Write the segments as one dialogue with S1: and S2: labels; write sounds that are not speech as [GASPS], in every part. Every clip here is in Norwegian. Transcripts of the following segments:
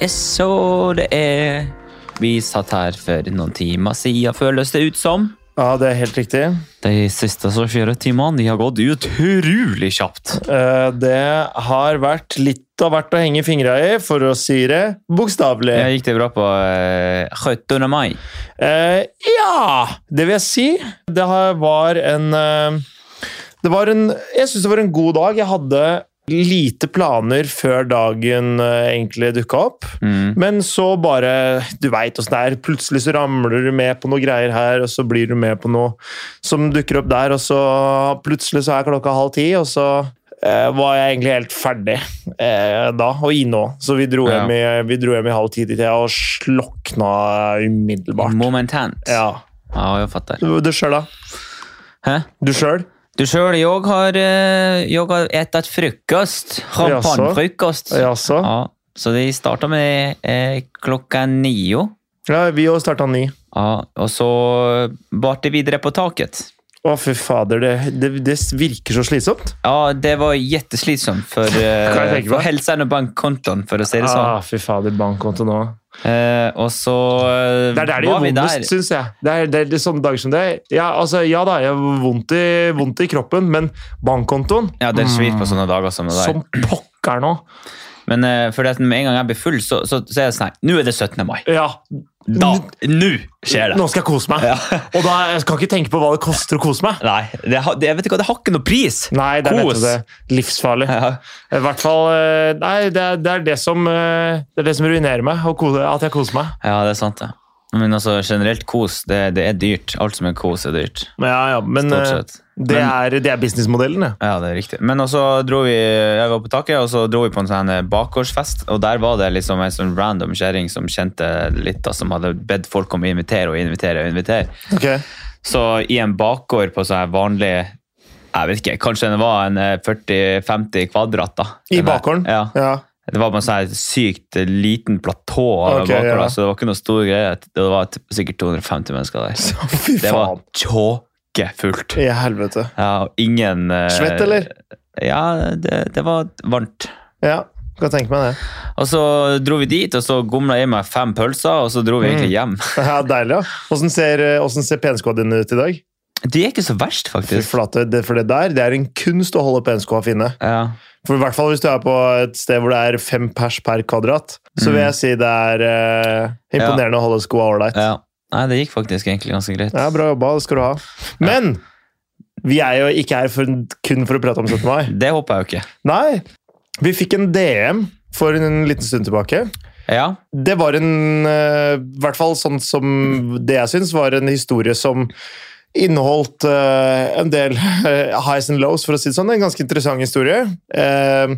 S1: Yes, så det er Vi satt her for noen timer siden, føles det ut som.
S2: Ja, det er helt riktig.
S1: De siste 24 timene de har gått utrolig kjapt.
S2: Eh, Det har vært litt av hvert å henge fingra i, for å si det bokstavelig.
S1: Jeg gikk det bra på eh, 17. mai?
S2: Eh, ja, det vil jeg si. Det her var en eh, Det var en Jeg syns det var en god dag. Jeg hadde lite planer før dagen eh, egentlig dukka opp.
S1: Mm.
S2: Men så bare Du veit åssen det er. Plutselig så ramler du med på noe greier her, og så blir du med på noe som dukker opp der, og så plutselig så er klokka halv ti, og så eh, var jeg egentlig helt ferdig eh, da, og inne òg. Så vi dro,
S1: Ja.
S2: hjem i, vi dro hjem i halv ti til tida og slokna umiddelbart.
S1: Momentant.
S2: Ja.
S1: ja, jeg fatter.
S2: Du du sjøl, da?
S1: Hæ?
S2: Du sjøl?
S1: Du sjøl, jeg har, eh, jeg har spist frokost. Champagnefrokost.
S2: Jaså?
S1: Ja, så de starta med eh, klokka nio.
S2: Ja, vi òg starta ni.
S1: Ja, og så bar det videre på taket.
S2: Å, fy fader, det, det, det virker så slitsomt.
S1: Ja, det var jätteslitsomt for, eh,
S2: Kan jeg tenke meg.
S1: for helsen og bankkontoen, for å si det sånn.
S2: Ah, fy fader, bankkonto nå.
S1: Eh, og så eh,
S2: Det er der
S1: var
S2: det gjør
S1: vi der.
S2: vondest, syns jeg. Det er, det er litt sånne dager som det. Ja, altså, ja da, jeg har vondt i, vondt i kroppen, men bankkontoen
S1: Ja, det svir på sånne dager som det der.
S2: Mm. som pokker nå!
S1: Men eh, fordi at med en gang jeg blir full, så, så, så er jeg sånn her, Nå er det 17. mai.
S2: Ja.
S1: Da,
S2: N-
S1: nå skjer det.
S2: Nå skal jeg kose meg!
S1: Ja. [LAUGHS]
S2: Og da jeg skal ikke tenke på hva det koster å kose meg.
S1: Nei, det, har- det, jeg vet ikke, hva, det har ikke noe pris.
S2: Nei, det er
S1: Kos.
S2: nettopp det. Livsfarlig.
S1: Ja.
S2: I hvert fall eh, Nei, det er det, er det, som, eh, det, er det som ruinerer meg. å kose- At jeg koser meg.
S1: ja, det er sant, det. Men altså, generelt kos, det, det er dyrt. Alt som er kos, er dyrt.
S2: Men Ja, ja, men
S1: Stort
S2: eh,
S1: sett.
S2: det er, det er businessmodellen, det.
S1: Ja, det er riktig. Men også dro vi jeg var på taket, og så dro vi på en sånn bakgårdsfest. Og der var det liksom en sånn random kjerring som kjente litt, da, som hadde bedt folk om å invitere og invitere. og invitere. Så i en bakgård på sånn her vanlig jeg vet ikke, Kanskje det var en eh, 40-50 kvadrat. da.
S2: I
S1: Den der-
S2: bakgården?
S1: Ja.
S2: Ja.
S1: Det var på en sånn her sykt liten platå, av en
S2: Ok,
S1: bakgård,
S2: ja.
S1: da, så det var ikke noe stor greie. Det var t- sikkert 250 mennesker der.
S2: Fy
S1: Det var
S2: faen.
S1: tåkefullt.
S2: I helvete.
S1: Ja, og ingen eh,
S2: Svett, eller?
S1: Ja, det, det var varmt.
S2: Ja, kan tenke meg det.
S1: Og så dro vi dit, og så gomla jeg i meg fem pølser, og så dro vi
S2: Mm.
S1: egentlig hjem. [LAUGHS]
S2: Ja, Deilig. ja. Hvordan ser, eh, hvordan ser penskoa dine ut i dag?
S1: Det er ikke så verst,
S2: Fy
S1: faktisk.
S2: flate, det, for det der det er en kunst å holde penskoa fine.
S1: Ja.
S2: For I hvert fall hvis du er på et sted hvor det er fem pers per kvadrat. Så vil jeg si det er eh, imponerende å holde skoa ålreit.
S1: ja. Nei, det gikk faktisk egentlig ganske greit.
S2: Ja, bra jobba, det skal du ha. Men vi er jo ikke her for, kun for å prate om 17. mai.
S1: Det håper jeg jo ikke.
S2: Nei, vi fikk en DM for en liten stund tilbake.
S1: Ja,
S2: det var en eh, I hvert fall sånn som det jeg syns var en historie som inneholdt eh, en del eh, highs and lows, for å si det sånn. En ganske interessant historie. eh,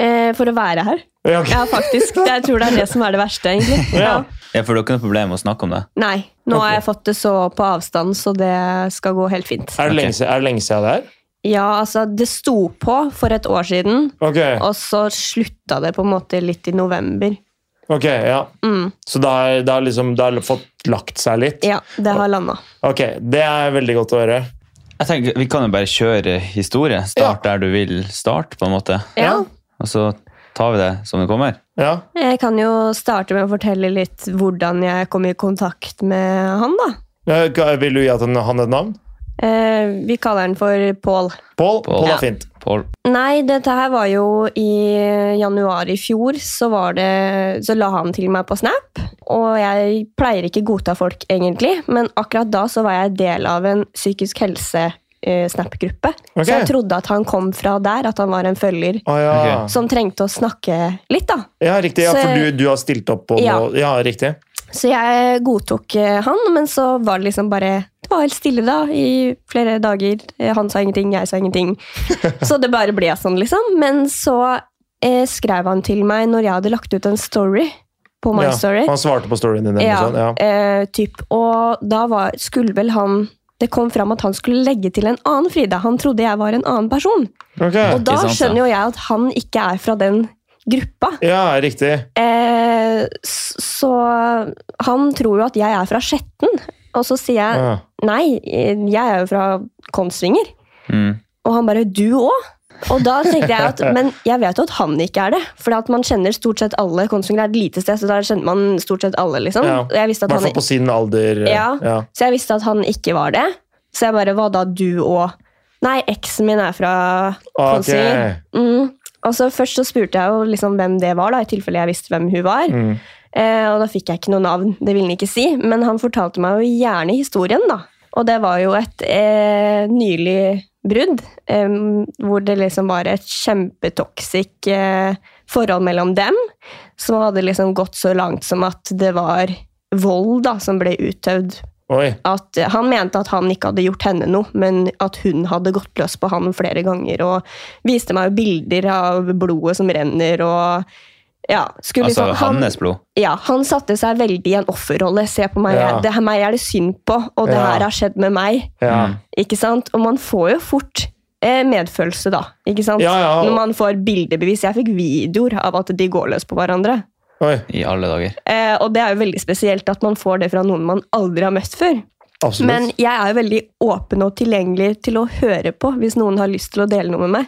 S3: Eh, for å være her.
S2: Ja, ok.
S3: Ja, faktisk. Jeg tror det er det som er det verste, egentlig.
S2: Ja.
S3: Ja.
S1: Ja, for det er ikke noe problem å snakke om det.
S3: Nei. Nå har jeg fått det så på avstand, så det skal gå helt fint.
S2: Er, det
S1: Ok.
S2: lenge, si- er det lenge siden det er?
S3: Ja, altså, det sto på for et år siden,
S2: Ok,
S3: og så slutta det på en måte litt i november.
S2: ok, ja.
S3: Mm.
S2: Så det har, det har liksom det har fått lagt seg litt?
S3: Ja, det har landa.
S2: Ok, det er veldig godt å høre.
S1: Jeg tenker, Vi kan jo bare kjøre historie. Start der du vil starte, på en måte.
S3: Ja.
S2: Ja.
S1: Og så tar vi det som det kommer.
S2: Ja,
S3: Jeg kan jo starte med å fortelle litt hvordan jeg kom i kontakt med han, da.
S2: Eh, ka- Vil du gi at han han et navn?
S3: Eh, vi kaller han for Pål.
S2: Pål?
S1: Pål.
S2: Pål
S1: Ja.
S2: er fint.
S1: Pål.
S3: Nei, dette her var jo i januar i fjor, så, var det, så la han til meg på Snap. Og jeg pleier ikke godta folk, egentlig, men akkurat da så var jeg del av en psykisk helse-Snap-gruppe.
S2: Ok.
S3: Så jeg trodde at han kom fra der, at han var en følger
S2: Å ja.
S1: Ok.
S3: som trengte å snakke litt, da.
S2: ja, riktig. Ja,
S3: Så-
S2: for du, du har stilt opp på
S3: Ja.
S2: noe Ja, riktig.
S3: Så jeg godtok eh, han, men så var det liksom bare Det var helt stille da, i flere dager. Eh, Han sa ingenting, jeg sa
S2: [LAUGHS]
S3: ingenting. Så det bare ble sånn, liksom. Men så eh, skrev han til meg når jeg hadde lagt ut en story på My
S2: Ja,
S3: Story.
S2: Han svarte på storyen din. Ja.
S3: Ja,
S2: Sånn. Ja.
S3: eh, typ. Og da var, skulle vel han Det kom fram at han skulle legge til en annen Frida. Han trodde jeg var en annen person.
S2: Ok.
S3: Eh, Og da
S1: Ikke sant, ja.
S3: skjønner jo jeg at han ikke er fra den gruppa.
S2: ja, riktig.
S3: Eh, s- så han tror jo at jeg er fra Skjetten. Og så sier jeg
S2: Ja.
S3: nei, eh, jeg er jo fra Kongsvinger.
S1: Mm.
S3: Og han bare du òg? Og da tenkte jeg
S2: [LAUGHS]
S3: at men jeg vet jo at han ikke er det. For at man kjenner stort sett alle. Kongsvinger er et lite sted, så da kjenner man stort sett alle. liksom.
S2: Ja.
S3: Og jeg
S2: I
S3: visste at
S2: hvert
S3: han,
S2: fall på sin alder. eh,
S3: Ja.
S2: ja.
S3: så jeg visste at han ikke var det. Så jeg bare hva da, du òg? Nei, eksen min er fra
S2: Ok.
S3: Kongsvinger. Mm. Og så Først så spurte jeg jo liksom hvem det var, da, i tilfelle jeg visste hvem hun var.
S2: Mm.
S3: Eh, og da fikk jeg ikke noe navn, det ville han ikke si, men han fortalte meg jo gjerne historien, da. Og det var jo et eh, nylig brudd, eh, hvor det liksom var et kjempetoxic eh, forhold mellom dem, som hadde liksom gått så langt som at det var vold da, som ble utøvd.
S2: Oi.
S3: At eh, han mente at han ikke hadde gjort henne noe, men at hun hadde gått løs på han flere ganger, og viste meg jo bilder av blodet som renner, og ja, skulle
S1: Altså
S3: liksom-
S1: hans blod.
S3: ja, han satte seg veldig i en offerrolle. Se på meg,
S2: Ja.
S3: det her meg er det synd på, og det
S2: Ja.
S3: her har skjedd med meg.
S2: Ja.
S1: Mm.
S3: Ikke sant? Og man får jo fort eh, medfølelse, da. Ikke sant?
S2: Ja, ja.
S3: Når man får bildebevis. Jeg fikk videoer av at de går løs på hverandre.
S2: Oi.
S1: I alle dager.
S3: Eh, og det er jo veldig spesielt at man får det fra noen man aldri har møtt før.
S2: Absolutt.
S3: Men jeg er jo veldig åpen og tilgjengelig til å høre på hvis noen har lyst til å dele noe med meg.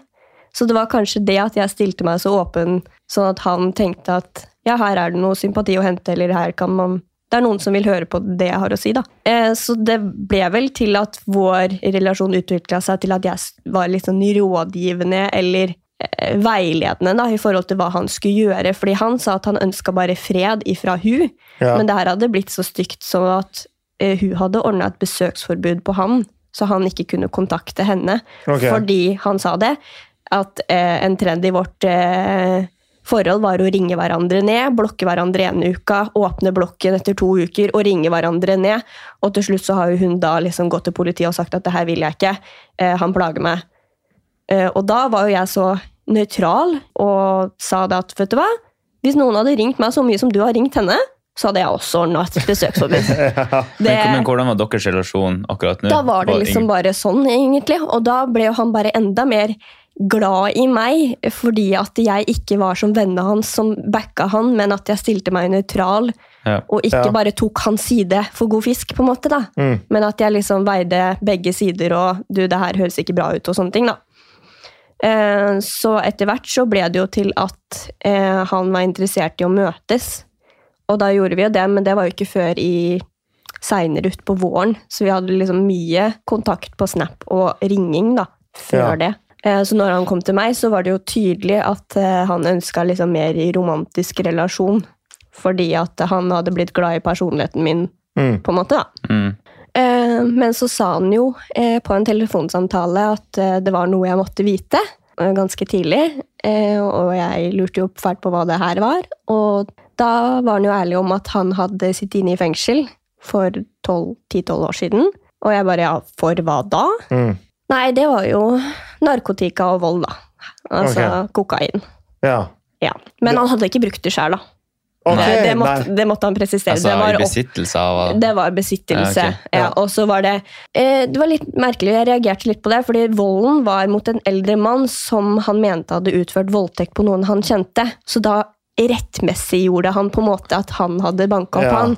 S3: Så det var kanskje det at jeg stilte meg så åpen, sånn at han tenkte at ja, her er det noe sympati å hente, eller her kan man Det er noen som vil høre på det jeg har å si, da. Eh, så det ble vel til at vår relasjon utvikla seg til at jeg s- var litt sånn rådgivende eller eh, veiledende da, i forhold til hva han skulle gjøre. Fordi han sa at han ønska bare fred ifra hun,
S2: ja.
S3: men det her hadde blitt så stygt som at eh, hun hadde ordna et besøksforbud på han, så han ikke kunne kontakte henne.
S2: Ok.
S3: Fordi han sa det, at eh, en trend i vårt eh, forhold var å ringe hverandre ned, blokke hverandre en uka, åpne blokken etter to uker og ringe hverandre ned. Og til slutt så har jo hun da liksom gått til politiet og sagt at det her vil jeg ikke, eh, han plager meg. Eh, og da var jo jeg så nøytral og sa det at, vet du hva, hvis noen hadde ringt meg så mye som du har ringt henne, så hadde jeg også ordna et besøksforbud.
S2: [LAUGHS] ja.
S3: Det,
S1: Men, men hvordan var deres relasjon akkurat nå?
S3: da var det liksom bare sånn, egentlig. Og da ble jo han bare enda mer glad i meg, fordi at jeg ikke var som vennene hans som backa han, men at jeg stilte meg nøytral,
S1: Ja.
S3: og ikke
S2: Ja.
S3: bare tok hans side for god fisk, på en måte, da.
S2: Mm.
S3: Men at jeg liksom veide begge sider, og du, det her høres ikke bra ut, og sånne ting, da. Eh, Så etter hvert så ble det jo til at eh, han var interessert i å møtes. Og da gjorde vi jo det, men det var jo ikke før i seinere utpå våren. Så vi hadde liksom mye kontakt på Snap og ringing da, før
S2: Ja.
S3: det. Eh, Så når han kom til meg, så var det jo tydelig at eh, han ønska liksom mer i romantisk relasjon. Fordi at han hadde blitt glad i personligheten min,
S2: Mm.
S3: på en måte. da.
S1: Mm.
S3: Eh, Men så sa han jo eh, på en telefonsamtale at eh, det var noe jeg måtte vite eh, ganske tidlig. eh, Og jeg lurte jo fælt på hva det her var. Og da var han jo ærlig om at han hadde sittet inne i fengsel for 12 10-12 år siden. Og jeg bare ja, for hva da?
S2: Mm.
S3: Nei, det var jo narkotika og vold, da. Altså kokain.
S2: Ja.
S3: Ja. Men han hadde ikke brukt det sjøl, da.
S2: Ok,
S3: Det, det,
S2: nei.
S3: måtte, det måtte han presisere.
S1: Altså
S3: det, var
S1: i
S3: opp,
S1: besittelse av
S3: det var besittelse.
S1: Ja,
S3: Ja,
S1: ok.
S2: Ja.
S3: og så var det eh, Det var litt merkelig, jeg reagerte litt på det, fordi volden var mot en eldre mann som han mente hadde utført voldtekt på noen han kjente. Så da rettmessiggjorde han på en måte at han hadde banka opp
S2: Ja.
S3: han.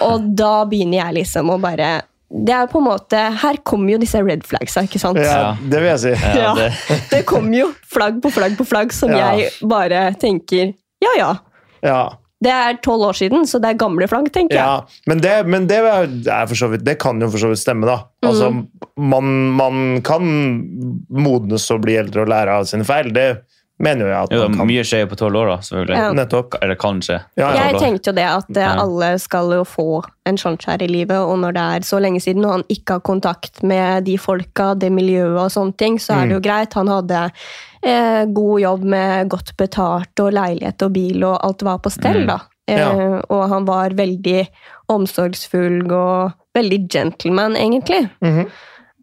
S3: Og da begynner jeg liksom å bare Det er på en måte Her kommer jo disse red flagsa, ikke sant?
S2: Ja, det vil jeg si.
S1: Ja,
S3: Ja,
S1: det-
S3: [LAUGHS] det, kom jo flagg på flagg på flagg som
S2: Ja.
S3: jeg bare tenker Ja, ja.
S2: Ja.
S3: Det er tolv år siden, så det er gamle flagg, tenker jeg.
S2: Ja, men det, men det, er, er for så vidt, det kan jo for så vidt stemme, da. Altså, man, man kan modnes og bli eldre og lære av sine feil. Det mener jo jeg at
S1: Jo,
S2: man
S1: da,
S2: kan.
S1: mye skjer jo på tolv år, da, selvfølgelig.
S3: Ja.
S2: Nettopp.
S1: Eller kanskje.
S2: Ja, ja.
S3: Jeg tenkte jo det at eh,
S1: Ja.
S3: alle skal jo få en sjanse her i livet, og når det er så lenge siden, og han ikke har kontakt med de folka, det miljøet og sånne ting, så
S2: Mm.
S3: er det jo greit. Han hadde eh, god jobb med godt betalt og leilighet og bil, og alt var på stell, da. Eh,
S2: Mm. Ja.
S3: Og han var veldig omsorgsfull og veldig gentleman, egentlig.
S2: Mhm.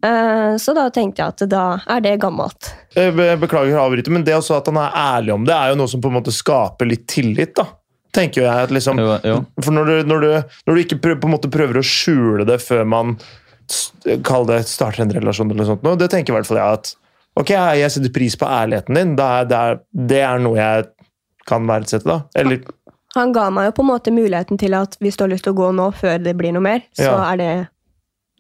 S3: Eh, Så da tenkte jeg at da er det gammelt.
S2: Eh, be- Beklager å avbryte, men det også at han er ærlig om det, er jo noe som på en måte skaper litt tillit, da. Tenker jo jeg at liksom,
S1: Jo, jo.
S2: For når du, når du, når du ikke prøver, på en måte prøver å skjule det før man s- kall det starter en relasjon, eller noe sånt, nå, det tenker i hvert fall jeg at ok, jeg setter pris på ærligheten din. Det er, det er, det er noe jeg kan verdsette, da. Eller
S3: Han ga meg jo på en måte muligheten til at hvis du har lyst til å gå nå, før det blir noe mer, så
S2: Ja.
S3: er det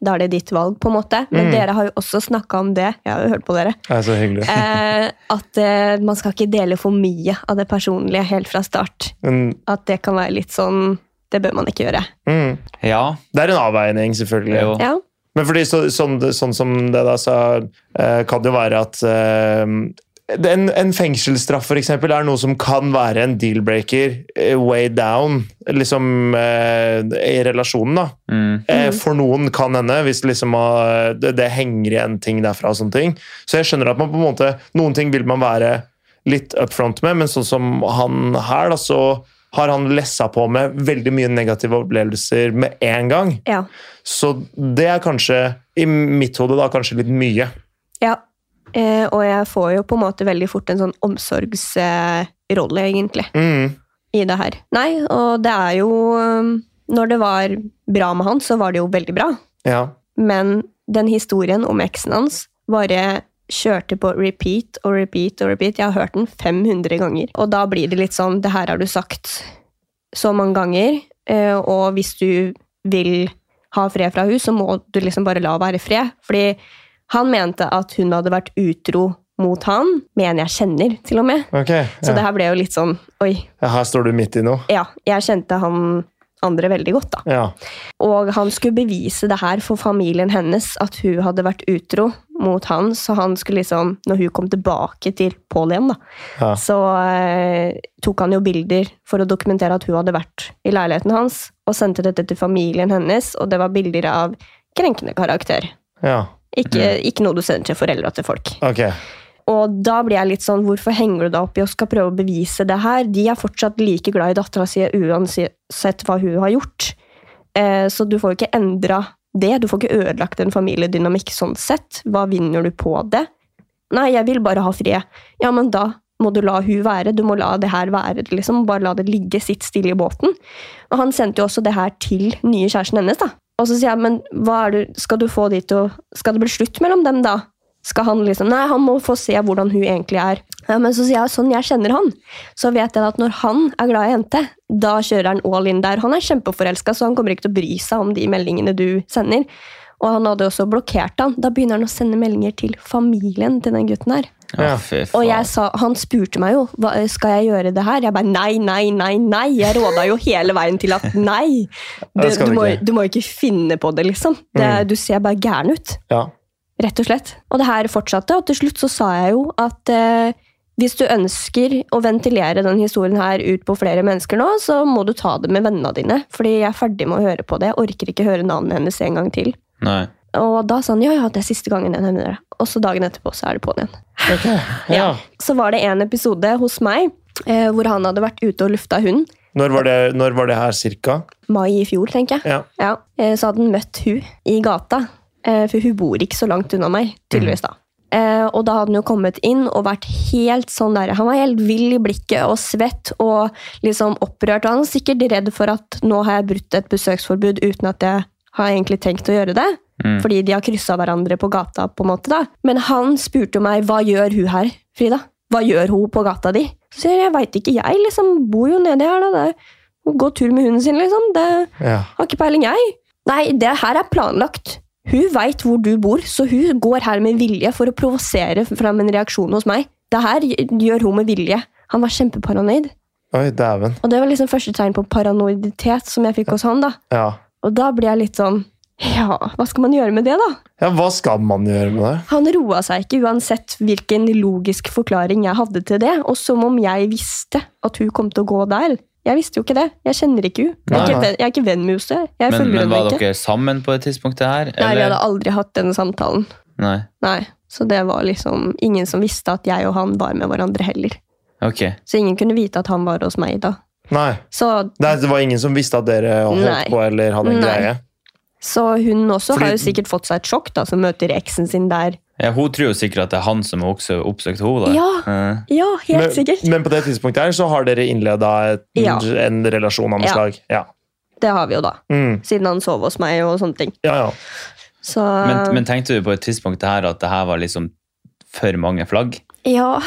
S3: da er det ditt valg, på en måte. Men
S2: Mm.
S3: dere har jo også snakka om det. Jeg har jo hørt på
S2: [LAUGHS]
S3: dere.
S2: Det er så hyggelig.
S3: Eh, at eh, man skal ikke dele for mye av det personlige helt fra start.
S2: Men,
S3: At det kan være litt sånn Det bør man ikke gjøre.
S2: mm,
S1: Ja,
S2: det er en avveining, selvfølgelig.
S1: jo.
S3: Ja.
S2: Men fordi så, sånn, sånn som det da sa, eh, kan det jo være at eh, det- en, en fengselsstraff for eksempel er noe som kan være en deal-breaker eh, way down, liksom eh, i relasjonen da.
S1: Mm.
S2: Eh, For noen kan hende, hvis liksom, ah, det, det henger igjen ting derfra. og sånne ting. Så jeg skjønner at man på en måte, noen ting vil man være litt upfront med, men sånn som han her, da, så har han lessa på med veldig mye negative opplevelser med en gang.
S3: Ja.
S2: Så det er kanskje, i mitt hode, da, kanskje litt mye.
S3: ja. Eh, og jeg får jo på en måte veldig fort en sånn omsorgsrolle, eh, rolle, egentlig.
S2: Mm.
S3: i det her. Nei, og det er jo um, Når det var bra med han, så var det jo veldig bra.
S2: Ja.
S3: Men den historien om eksen hans bare kjørte på repeat og repeat og repeat. Jeg har hørt den 500 ganger. Og da blir det litt sånn Det her har du sagt så mange ganger, eh, og hvis du vil ha fred fra henne, så må du liksom bare la være i fred. Fordi han mente at hun hadde vært utro mot han, med en jeg kjenner, til og med.
S2: Ok.
S3: Så
S2: Ja.
S3: det her ble jo litt sånn Oi,
S2: Her står du midt i noe.
S3: ja, jeg kjente han andre veldig godt, da.
S2: Ja.
S3: Og han skulle bevise det her for familien hennes, at hun hadde vært utro mot han, så han skulle liksom, når hun kom tilbake til Pål igjen, da,
S2: Ja.
S3: så eh, tok han jo bilder for å dokumentere at hun hadde vært i leiligheten hans, og sendte dette til familien hennes, og det var bilder av krenkende karakter.
S2: ja.
S3: Ikke, ikke noe du sender til foreldra til folk.
S2: Ok.
S3: Og da blir jeg litt sånn, hvorfor henger du deg opp i å skal prøve å bevise det her? De er fortsatt like glad i dattera si uansett hva hun har gjort. Eh, så du får jo ikke endra det. Du får ikke ødelagt en familiedynamikk sånn sett. Hva vinner du på det? Nei, jeg vil bare ha fred. Ja, men da må du la hun være. Du må la det her være. liksom. Bare la det ligge, sitt stille i båten. Og han sendte jo også det her til nye kjæresten hennes, da. Og så sier jeg, men hva er du, skal du få de til å Skal det bli slutt mellom dem, da? Skal han liksom Nei, han må få se hvordan hun egentlig er. Ja, men så sier jeg sånn jeg kjenner han, så vet jeg at når han er glad i en jente, da kjører han all in der. Han er kjempeforelska, så han kommer ikke til å bry seg om de meldingene du sender. Og han hadde også blokkert han. Da begynner han å sende meldinger til familien til den gutten her.
S1: Ja, fy
S3: Og
S1: faen.
S3: jeg sa, han spurte meg jo hva, skal jeg gjøre det her. Jeg bare nei, nei, nei. nei. Jeg råda jo hele veien til at nei.
S2: Det
S3: Det,
S2: skal
S3: du,
S2: du
S3: må,
S2: ikke.
S3: du må ikke finne på det, liksom. Det, Du ser bare gæren ut.
S2: Ja.
S3: Rett og slett. Og det her fortsatte, og til slutt så sa jeg jo at eh, hvis du ønsker å ventilere den historien her ut på flere mennesker nå, så må du ta det med vennene dine, fordi jeg er ferdig med å høre på det. Jeg orker ikke høre navnet hennes en gang til.
S1: Nei.
S3: Og da sa han ja, ja, det er siste gangen jeg nevner det. Og så dagen etterpå så er det på'n igjen.
S2: Ja.
S3: Så var det en episode hos meg eh, hvor han hadde vært ute og lufta hund.
S2: Når, var det, når var det her, cirka?
S3: Mai i fjor, tenker jeg.
S2: Ja.
S3: Ja, eh, Så hadde han møtt hun i gata, eh, for hun bor ikke så langt unna meg, tydeligvis da. Eh, Og da hadde han jo kommet inn og vært helt sånn der, han var helt vill i blikket og svett og liksom opprørt, og han var sikkert redd for at nå har jeg brutt et besøksforbud uten at jeg har egentlig tenkt å gjøre det,
S1: Mm.
S3: fordi de har krysset hverandre på gata på en måte da. Men han spurte jo meg, hva gjør hun her, Frida? Hva gjør hun på gata di? Så sier jeg, jeg vet ikke, jeg liksom bor jo nede her da, det er å gå tur med hunden sin liksom, det
S2: Ja.
S3: har ikke peiling, jeg. Nei, det her er planlagt. Hun veit hvor du bor, så hun går her med vilje for å provosere fram en reaksjon hos meg. Det her gjør hun med vilje. Han var kjempeparanoid.
S2: Oi, dæven.
S3: Og det var liksom første tegn på paranoiditet som jeg fikk hos han. da.
S2: Ja.
S3: Og da ble jeg litt sånn Ja, hva skal man gjøre med det, da?
S2: ja, hva skal man gjøre med det?
S3: Han roa seg ikke uansett hvilken logisk forklaring jeg hadde til det, og som om jeg visste at hun kom til å gå der. Jeg visste jo ikke det. Jeg kjenner ikke hun.
S2: Nei.
S3: Jeg er ikke venn, jeg er ikke venn med henne. Jeg
S1: Men,
S3: følger
S1: men
S3: henne
S1: var
S3: ikke.
S1: dere sammen på et tidspunkt det her?
S3: Nei, vi
S1: eller?
S3: hadde aldri hatt denne samtalen.
S1: Nei.
S3: Nei, Så det var liksom ingen som visste at jeg og han var med hverandre heller.
S1: Ok.
S3: Så ingen kunne vite at han var hos meg da.
S2: Nei.
S3: Så,
S2: Det, det var ingen som visste at dere holdt
S3: Nei.
S2: på eller hadde en
S3: Nei.
S2: greie?
S3: så hun også
S2: Fordi-
S3: har jo sikkert fått seg et sjokk, da, som møter eksen sin der.
S1: Ja, hun tror jo sikkert at det er han som har oppsø- oppsøkt henne. da.
S3: Ja.
S1: Eh,
S3: Ja, helt
S2: Men,
S3: sikkert.
S2: men på det tidspunktet her så har dere innleda et-
S3: Ja.
S2: en relasjon av noe
S3: Ja.
S2: slag? Ja.
S3: Det har vi jo, da.
S2: Mm.
S3: Siden han sov hos meg og sånne ting.
S2: ja, ja. [LAUGHS]
S3: Så Eh.
S1: Men, men tenkte du på et tidspunkt det her at det her var liksom for mange flagg?
S3: ja.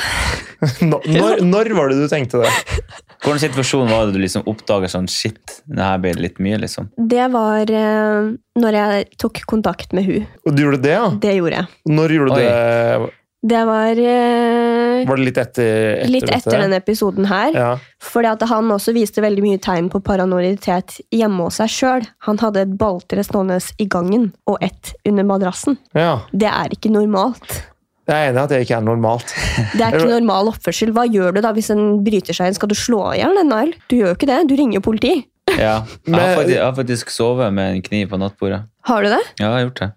S2: Nå- Når, når var det du tenkte det?
S1: Hvordan situasjon var det du liksom oppdaget sånn shit, det her ble litt mye, liksom?
S3: Det var eh, når jeg tok kontakt med hun.
S2: Og du gjorde det, ja?
S3: Det gjorde jeg.
S2: Når gjorde du
S1: Oi.
S2: det?
S3: Det var eh,
S2: Var det litt etter, etter
S3: litt etter denne episoden her.
S2: Ja.
S3: Fordi at han også viste veldig mye tegn på paranoiditet hjemme hos seg sjøl. Han hadde et balltre stående i gangen og ett under madrassen.
S2: ja.
S3: Det er ikke normalt.
S2: Jeg er enig i at det ikke er normalt.
S3: Det er ikke normal oppførsel. Hva gjør du da hvis en bryter seg inn? Skal du slå i hjel den, Nile? Du gjør jo ikke det. Du ringer jo politi.
S1: Ja. Jeg har
S2: Men-
S1: faktisk, jeg har faktisk sovet med en kniv på nattbordet.
S3: Har du det?
S1: Ja, jeg har gjort det.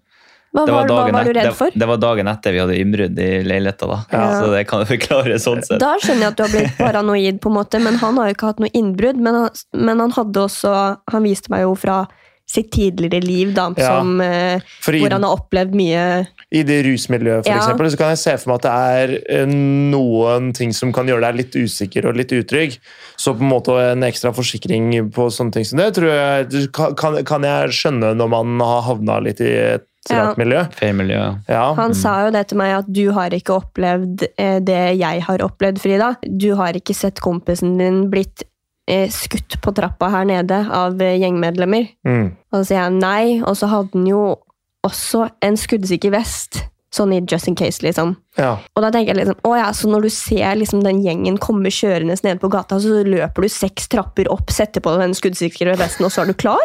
S3: Hva
S1: Det
S3: var, hva
S1: dagen
S3: var du
S1: et-
S3: redd
S1: det,
S3: for?
S1: Det var dagen etter vi hadde innbrudd i leiligheta, da.
S3: Ja.
S1: Så det kan jeg forklare sånn sett.
S3: Da skjønner jeg at du har blitt paranoid, på en måte, men han har jo ikke hatt noe innbrudd. Men han, men han hadde også Han viste meg jo fra sitt tidligere liv, da,
S2: Ja.
S3: som, eh,
S2: For i,
S3: hvor han har opplevd mye
S2: i det rusmiljøet, for
S3: Ja.
S2: eksempel, så kan jeg se for meg at det er eh, noen ting som kan gjøre deg litt usikker og litt utrygg. Så på en måte en ekstra forsikring på sånne ting som det, tror jeg du- kan- kan, kan jeg skjønne når man har havna litt i et
S3: Ja.
S2: rart miljø.
S1: Feil miljø.
S2: Ja.
S3: Han sa jo det til meg at du har ikke opplevd eh, det jeg har opplevd, Frida. Du har ikke sett kompisen din blitt eh, skutt på trappa her nede av eh, gjengmedlemmer.
S2: Mm.
S3: Og så sier jeg nei, og så hadde han jo også en skuddsikker vest. Sånn i just in case, liksom.
S2: ja.
S3: Og da tenker jeg liksom, å ja, så når du ser liksom den gjengen komme kjørende ned på gata, så løper du seks trapper opp, setter på den skuddsikre vesten, og så er du klar?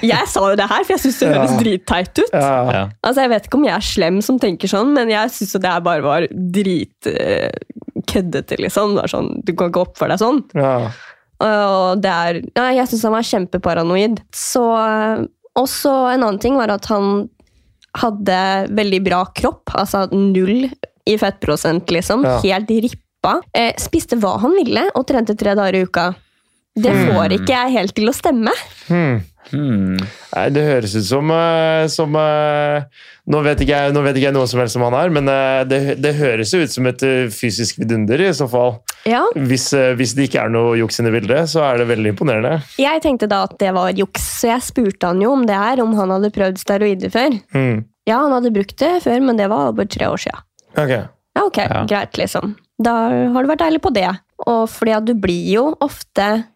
S3: Jeg sa jo det her, for jeg syns det høres
S2: Ja.
S3: dritteit ut.
S2: ja.
S1: Ja.
S3: Altså, Jeg vet ikke om jeg er slem som tenker sånn, men jeg syns det her bare var dritkøddete, liksom. Det var sånn, du kan ikke oppføre deg sånn.
S2: ja.
S3: Og det er ja, Jeg syns han var kjempeparanoid. Så eh, Også en annen ting var at han hadde veldig bra kropp. Altså null i fettprosent, liksom.
S2: Ja.
S3: Helt rippa. Eh, spiste hva han ville og trente tre dager i uka. Det får ikke jeg helt til å stemme.
S2: Hmm.
S1: Hmm.
S2: Nei, det høres ut som, eh, som eh, nå, vet ikke jeg, nå vet ikke jeg noe som helst om han er, men eh, det, det høres jo ut som et eh, fysisk vidunder i så fall.
S3: Ja,
S2: Hvis, eh, hvis det ikke er noe juks inne i bildet, så er det veldig imponerende.
S3: Jeg tenkte da at det var juks, så jeg spurte han jo om det her, om han hadde prøvd steroider før.
S2: Hmm.
S3: Ja, han hadde brukt det før, men det var bare tre år siden.
S2: Ok.
S3: Ja, ok,
S1: Ja.
S3: greit, liksom. Da har du vært ærlig på det. Og fordi at du blir jo ofte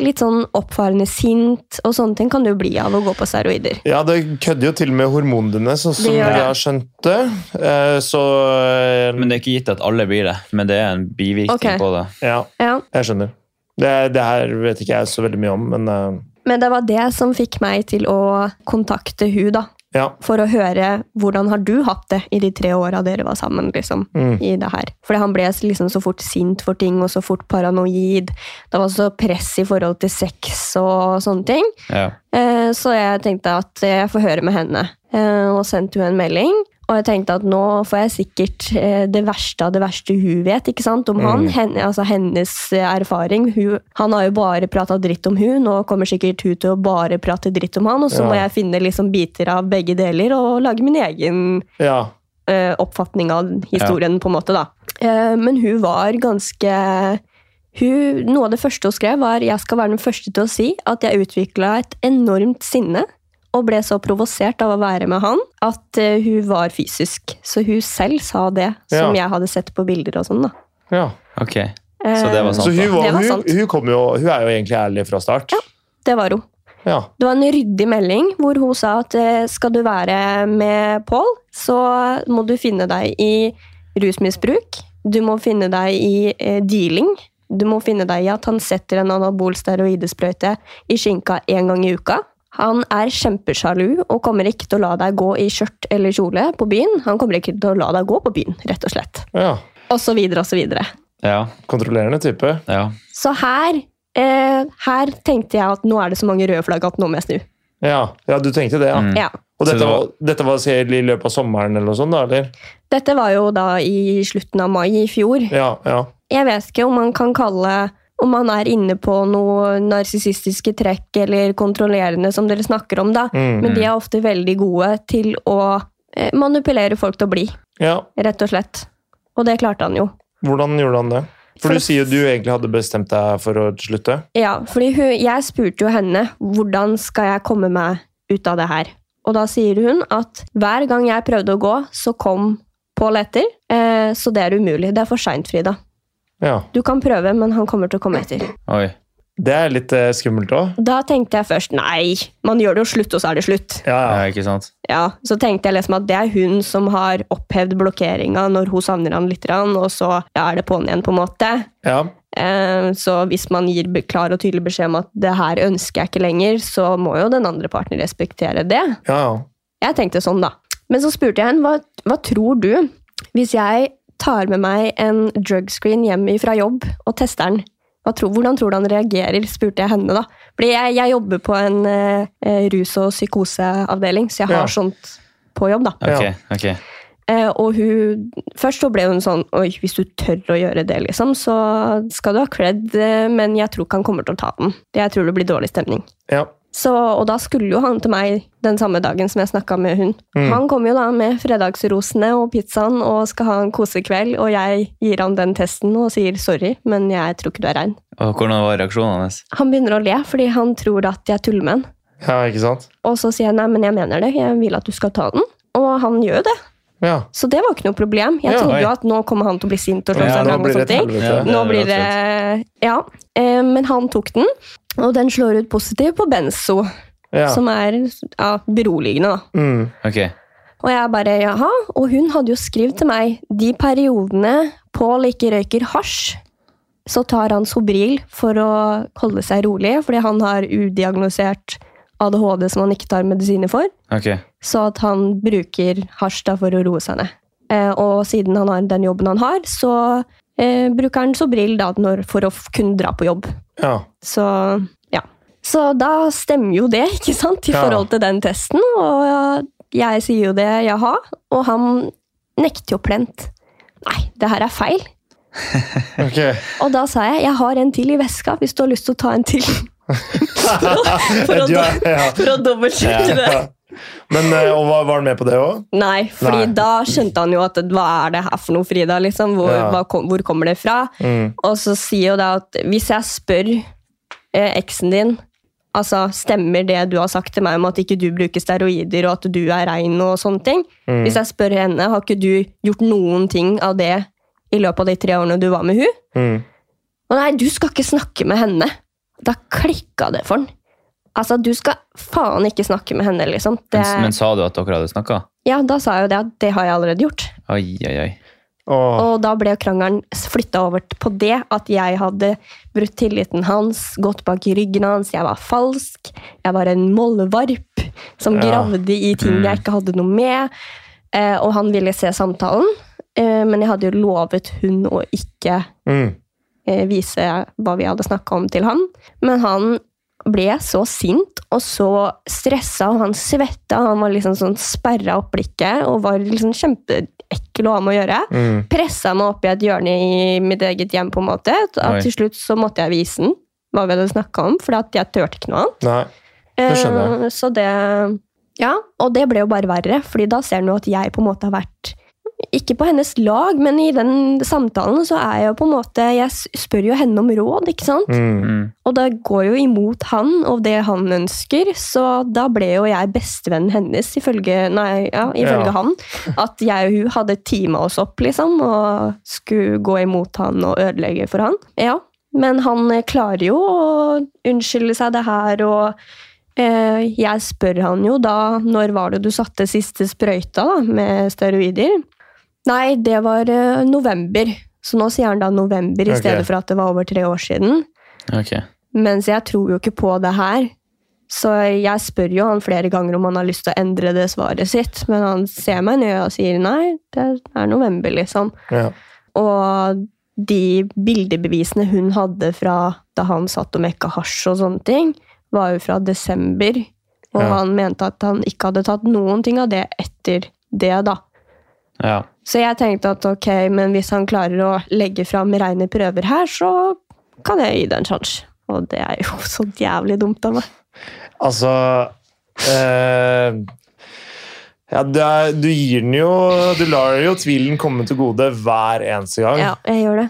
S3: litt sånn oppfarende sint, og sånne ting kan du bli av å gå på steroider.
S2: Ja, det kødder jo til og med hormonene dine, sånn som
S3: Det
S2: vi
S3: gjør det.
S2: har skjønt det. Eh, Så eh,
S1: Men det er ikke gitt at alle blir det. Men det er en bivirkning
S3: Ok.
S1: på det.
S2: Ja,
S3: Ja.
S2: jeg skjønner. Det, det her vet ikke jeg så veldig mye om, men eh,
S3: Men det var det som fikk meg til å kontakte hun da.
S2: Ja.
S3: for å høre hvordan har du hatt det i de tre åra dere var sammen. liksom,
S2: Mm.
S3: i det her. Fordi han ble liksom så fort sint for ting, og så fort paranoid. Det var så press i forhold til sex og sånne ting.
S1: Ja.
S3: Eh, Så jeg tenkte at jeg får høre med henne, Eh, og sendte hun en melding. Og jeg tenkte at nå får jeg sikkert eh, det verste av det verste hun vet ikke sant, om han. Henne, altså hennes eh, erfaring. Hun, han har jo bare prata dritt om hun, nå kommer sikkert hun til å bare prate dritt om han. Og så
S2: Ja.
S3: må jeg finne liksom biter av begge deler og lage min egen
S2: Ja.
S3: eh, oppfatning av historien, på en måte. da. Eh, men hun var ganske hun, Noe av det første hun skrev, var jeg skal være den første til å si at jeg utvikla et enormt sinne og ble så provosert av å være med han at eh, hun var fysisk. Så hun selv sa det, som
S2: Ja.
S3: jeg hadde sett på bilder og sånn. da.
S2: ja.
S1: Ok. Så det var
S3: Eh,
S1: sant.
S2: Så hun, var,
S3: Det var
S2: hun,
S3: sant.
S2: hun, kom jo, hun er jo egentlig ærlig fra start.
S3: Det var hun.
S2: Ja.
S3: Det var en ryddig melding hvor hun sa at eh, skal du være med Pål, så må du finne deg i rusmisbruk. Du må finne deg i eh, dealing. Du må finne deg i at han setter en anabol steroidesprøyte i skinka én gang i uka. Han er kjempesjalu og kommer ikke til å la deg gå i skjørt eller kjole på byen. Han kommer ikke til å la deg gå på byen, rett og slett.
S2: ja.
S3: Og så videre og så videre.
S1: Ja,
S2: Kontrollerende type.
S1: ja.
S3: Så her, eh, her tenkte jeg at nå er det så mange røde flagg at nå må jeg snu.
S2: Ja, ja du tenkte det, ja.
S1: Mm.
S3: Ja.
S2: Og
S1: Så
S2: dette
S1: det var-
S2: var, dette var sikkert i løpet av sommeren eller noe sånt, da? eller?
S3: Dette var jo da i slutten av mai i fjor.
S2: Ja, ja.
S3: Jeg vet ikke om man kan kalle om man er inne på noe narsissistiske trekk eller kontrollerende som dere snakker om, da.
S2: Mm.
S3: Men de er ofte veldig gode til å eh, manipulere folk til å bli,
S2: ja.
S3: rett og slett. Og det klarte han jo.
S2: Hvordan gjorde han det? For du sier jo du egentlig hadde bestemt deg for å slutte.
S3: Ja, fordi hun, jeg spurte jo henne hvordan skal jeg komme meg ut av det her. Og da sier hun at hver gang jeg prøvde å gå, så kom Pål etter. Eh, så det er umulig. Det er for seint, Frida.
S2: Ja.
S3: Du kan prøve, men han kommer til å komme etter.
S1: Oi.
S2: Det er litt eh, skummelt òg.
S3: Da tenkte jeg først nei, man gjør det jo slutt, og så er det slutt.
S2: Ja,
S1: Ja,
S2: ja.
S1: ikke sant?
S3: Ja, Så tenkte jeg liksom at det er hun som har opphevd blokkeringa når hun savner han litt, grann, og så ja, er det på'n igjen, på en måte.
S2: ja.
S3: Eh, Så hvis man gir be- klar og tydelig beskjed om at det her ønsker jeg ikke lenger, så må jo den andre parten respektere det.
S2: ja, ja.
S3: Jeg tenkte sånn, da. Men så spurte jeg henne hva, hva tror du hvis jeg tar med meg en drugscreen hjem fra jobb og tester den. Hva tror, hvordan tror du han reagerer, spurte jeg henne. da. Fordi jeg, jeg jobber på en eh, eh, rus- og psykoseavdeling, så jeg har
S2: Ja.
S3: sånt på jobb. da.
S1: Ok,
S2: Ja.
S1: ok.
S3: Eh, og hun, først så ble hun sånn Oi, hvis du tør å gjøre det, liksom, så skal du ha cred, eh, men jeg tror ikke han kommer til å ta den. Jeg tror det blir dårlig stemning.
S2: ja.
S3: Så, og da skulle jo han til meg den samme dagen som jeg snakka med hun.
S2: Mm.
S3: Han kommer jo da med fredagsrosene og pizzaen og skal ha en kosekveld, og jeg gir han den testen og sier sorry, men jeg tror ikke du er rein.
S1: Og hvordan var reaksjonen hans?
S3: Han begynner å le fordi han tror at jeg tuller med han.
S2: ja ikke sant?
S3: Og så sier jeg nei, men jeg mener det, jeg vil at du skal ta den. Og han gjør jo det,
S2: Ja.
S3: så det var ikke noe problem. Jeg
S2: Ja,
S3: trodde jo
S1: oi.
S3: at nå kommer han til å bli sint og slå
S1: Ja,
S3: seg
S2: nå
S3: vrang og
S2: blir det
S3: sånne
S2: et
S3: ting.
S2: helvete.
S3: Nå
S1: Ja,
S3: blir
S1: det
S3: det Ja. eh, Men han tok den, og den slår ut positivt på benzo,
S2: Ja.
S3: som er ja, beroligende, da.
S2: Mm.
S1: Ok,
S3: Og jeg bare, jaha. Og hun hadde jo skrevet til meg de periodene Pål ikke røyker hasj, så tar han Sobril for å holde seg rolig, fordi han har udiagnosert ADHD som han ikke tar medisiner for.
S1: ok.
S3: Så at han bruker hasj da for å roe seg ned. Eh, og siden han har den jobben han har, så eh, bruker han Sobril da når, for å f- kunne dra på jobb.
S2: ja.
S3: Så ja. Så da stemmer jo det, ikke sant, i
S2: Ja.
S3: forhold til den testen. Og jeg sier jo det jeg har, og han nekter jo plent. Nei, det her er feil.
S2: Ok.
S3: Og da sa jeg jeg har en til i veska hvis du har lyst til å ta en til. [LAUGHS] for, å,
S2: Du er,
S3: do-
S2: ja.
S3: [LAUGHS] for å dobbeltsjekke det.
S2: Ja. Men eh, og var, var han med på det òg?
S3: Nei, fordi
S2: Nei.
S3: da skjønte han jo at hva er det her for noe, Frida? liksom? Hvor,
S2: Ja.
S3: hva, kom- hvor kommer det fra?
S2: Mm.
S3: Og så sier jo det at hvis jeg spør eh, eksen din Altså, stemmer det du har sagt til meg om at ikke du bruker steroider og at du er rein og sånne ting?
S2: mm,
S1: Mm.
S3: Hvis jeg spør henne, har ikke du gjort noen ting av det i løpet av de tre årene du var med hun?
S2: Mm.
S3: Og nei, du skal ikke snakke med henne. Da klikka det for han. Altså, du skal faen ikke snakke med henne, liksom. Det,
S1: Men, men sa du at dere hadde snakka?
S3: ja, da sa jeg jo det at det har jeg allerede gjort.
S1: Oi, oi, oi.
S2: Åh.
S3: Og da ble krangelen flytta over på det at jeg hadde brutt tilliten hans, gått bak i ryggen hans, jeg var falsk, jeg var en mollevarp. som
S2: Ja.
S3: gravde i ting jeg ikke hadde noe med. Eh, og han ville se samtalen, eh, men jeg hadde jo lovet hun å ikke
S2: Mm.
S3: eh, vise hva vi hadde snakka om til han. Men han ble så sint og så stressa, og han svetta. Han var liksom sånn sperra opp blikket og var liksom kjempeekkel å ha med å gjøre.
S2: Mm.
S3: Pressa meg opp i et hjørne i mitt eget hjem, på en måte.
S1: Oi.
S3: Og til slutt så måtte jeg vise den hva vi hadde snakka om, for jeg turte ikke noe annet.
S2: Nei. Det skjønner
S3: Eh, Så det Ja, og det ble jo bare verre, fordi da ser han jo at jeg på en måte har vært ikke på hennes lag, men i den samtalen så er jeg jo på en måte Jeg s- spør jo henne om råd, ikke sant?
S2: Mm.
S1: Mm.
S3: Og det går jo imot han og det han ønsker, så da ble jo jeg bestevennen hennes, ifølge, nei, ja, ifølge
S2: Ja.
S3: han. At jeg og hun hadde teama oss opp, liksom, og skulle gå imot han og ødelegge for han. Ja, men han eh, klarer jo å unnskylde seg det her, og eh, jeg spør han jo da når var det du satte siste sprøyta da, med steroider? Nei, det var eh, november. Så nå sier han da november i
S2: Ok.
S3: stedet for at det var over tre år siden.
S1: Ok.
S3: Mens jeg tror jo ikke på det her. Så jeg spør jo han flere ganger om han har lyst til å endre det svaret sitt, men han ser meg i øya og sier nei, det er november, liksom.
S2: Ja.
S3: Og de bildebevisene hun hadde fra da han satt og mekka hasj og sånne ting, var jo fra desember. Og
S2: Ja.
S3: han mente at han ikke hadde tatt noen ting av det etter det, da.
S1: Ja.
S3: Så jeg tenkte at ok, men hvis han klarer å legge fram reine prøver her, så kan jeg gi det en sjanse. Og det er jo [LAUGHS] så jævlig dumt av meg.
S2: Altså eh, ja, det er, Du gir den jo Du lar jo tvilen komme til gode hver eneste gang.
S3: Ja, jeg gjør det.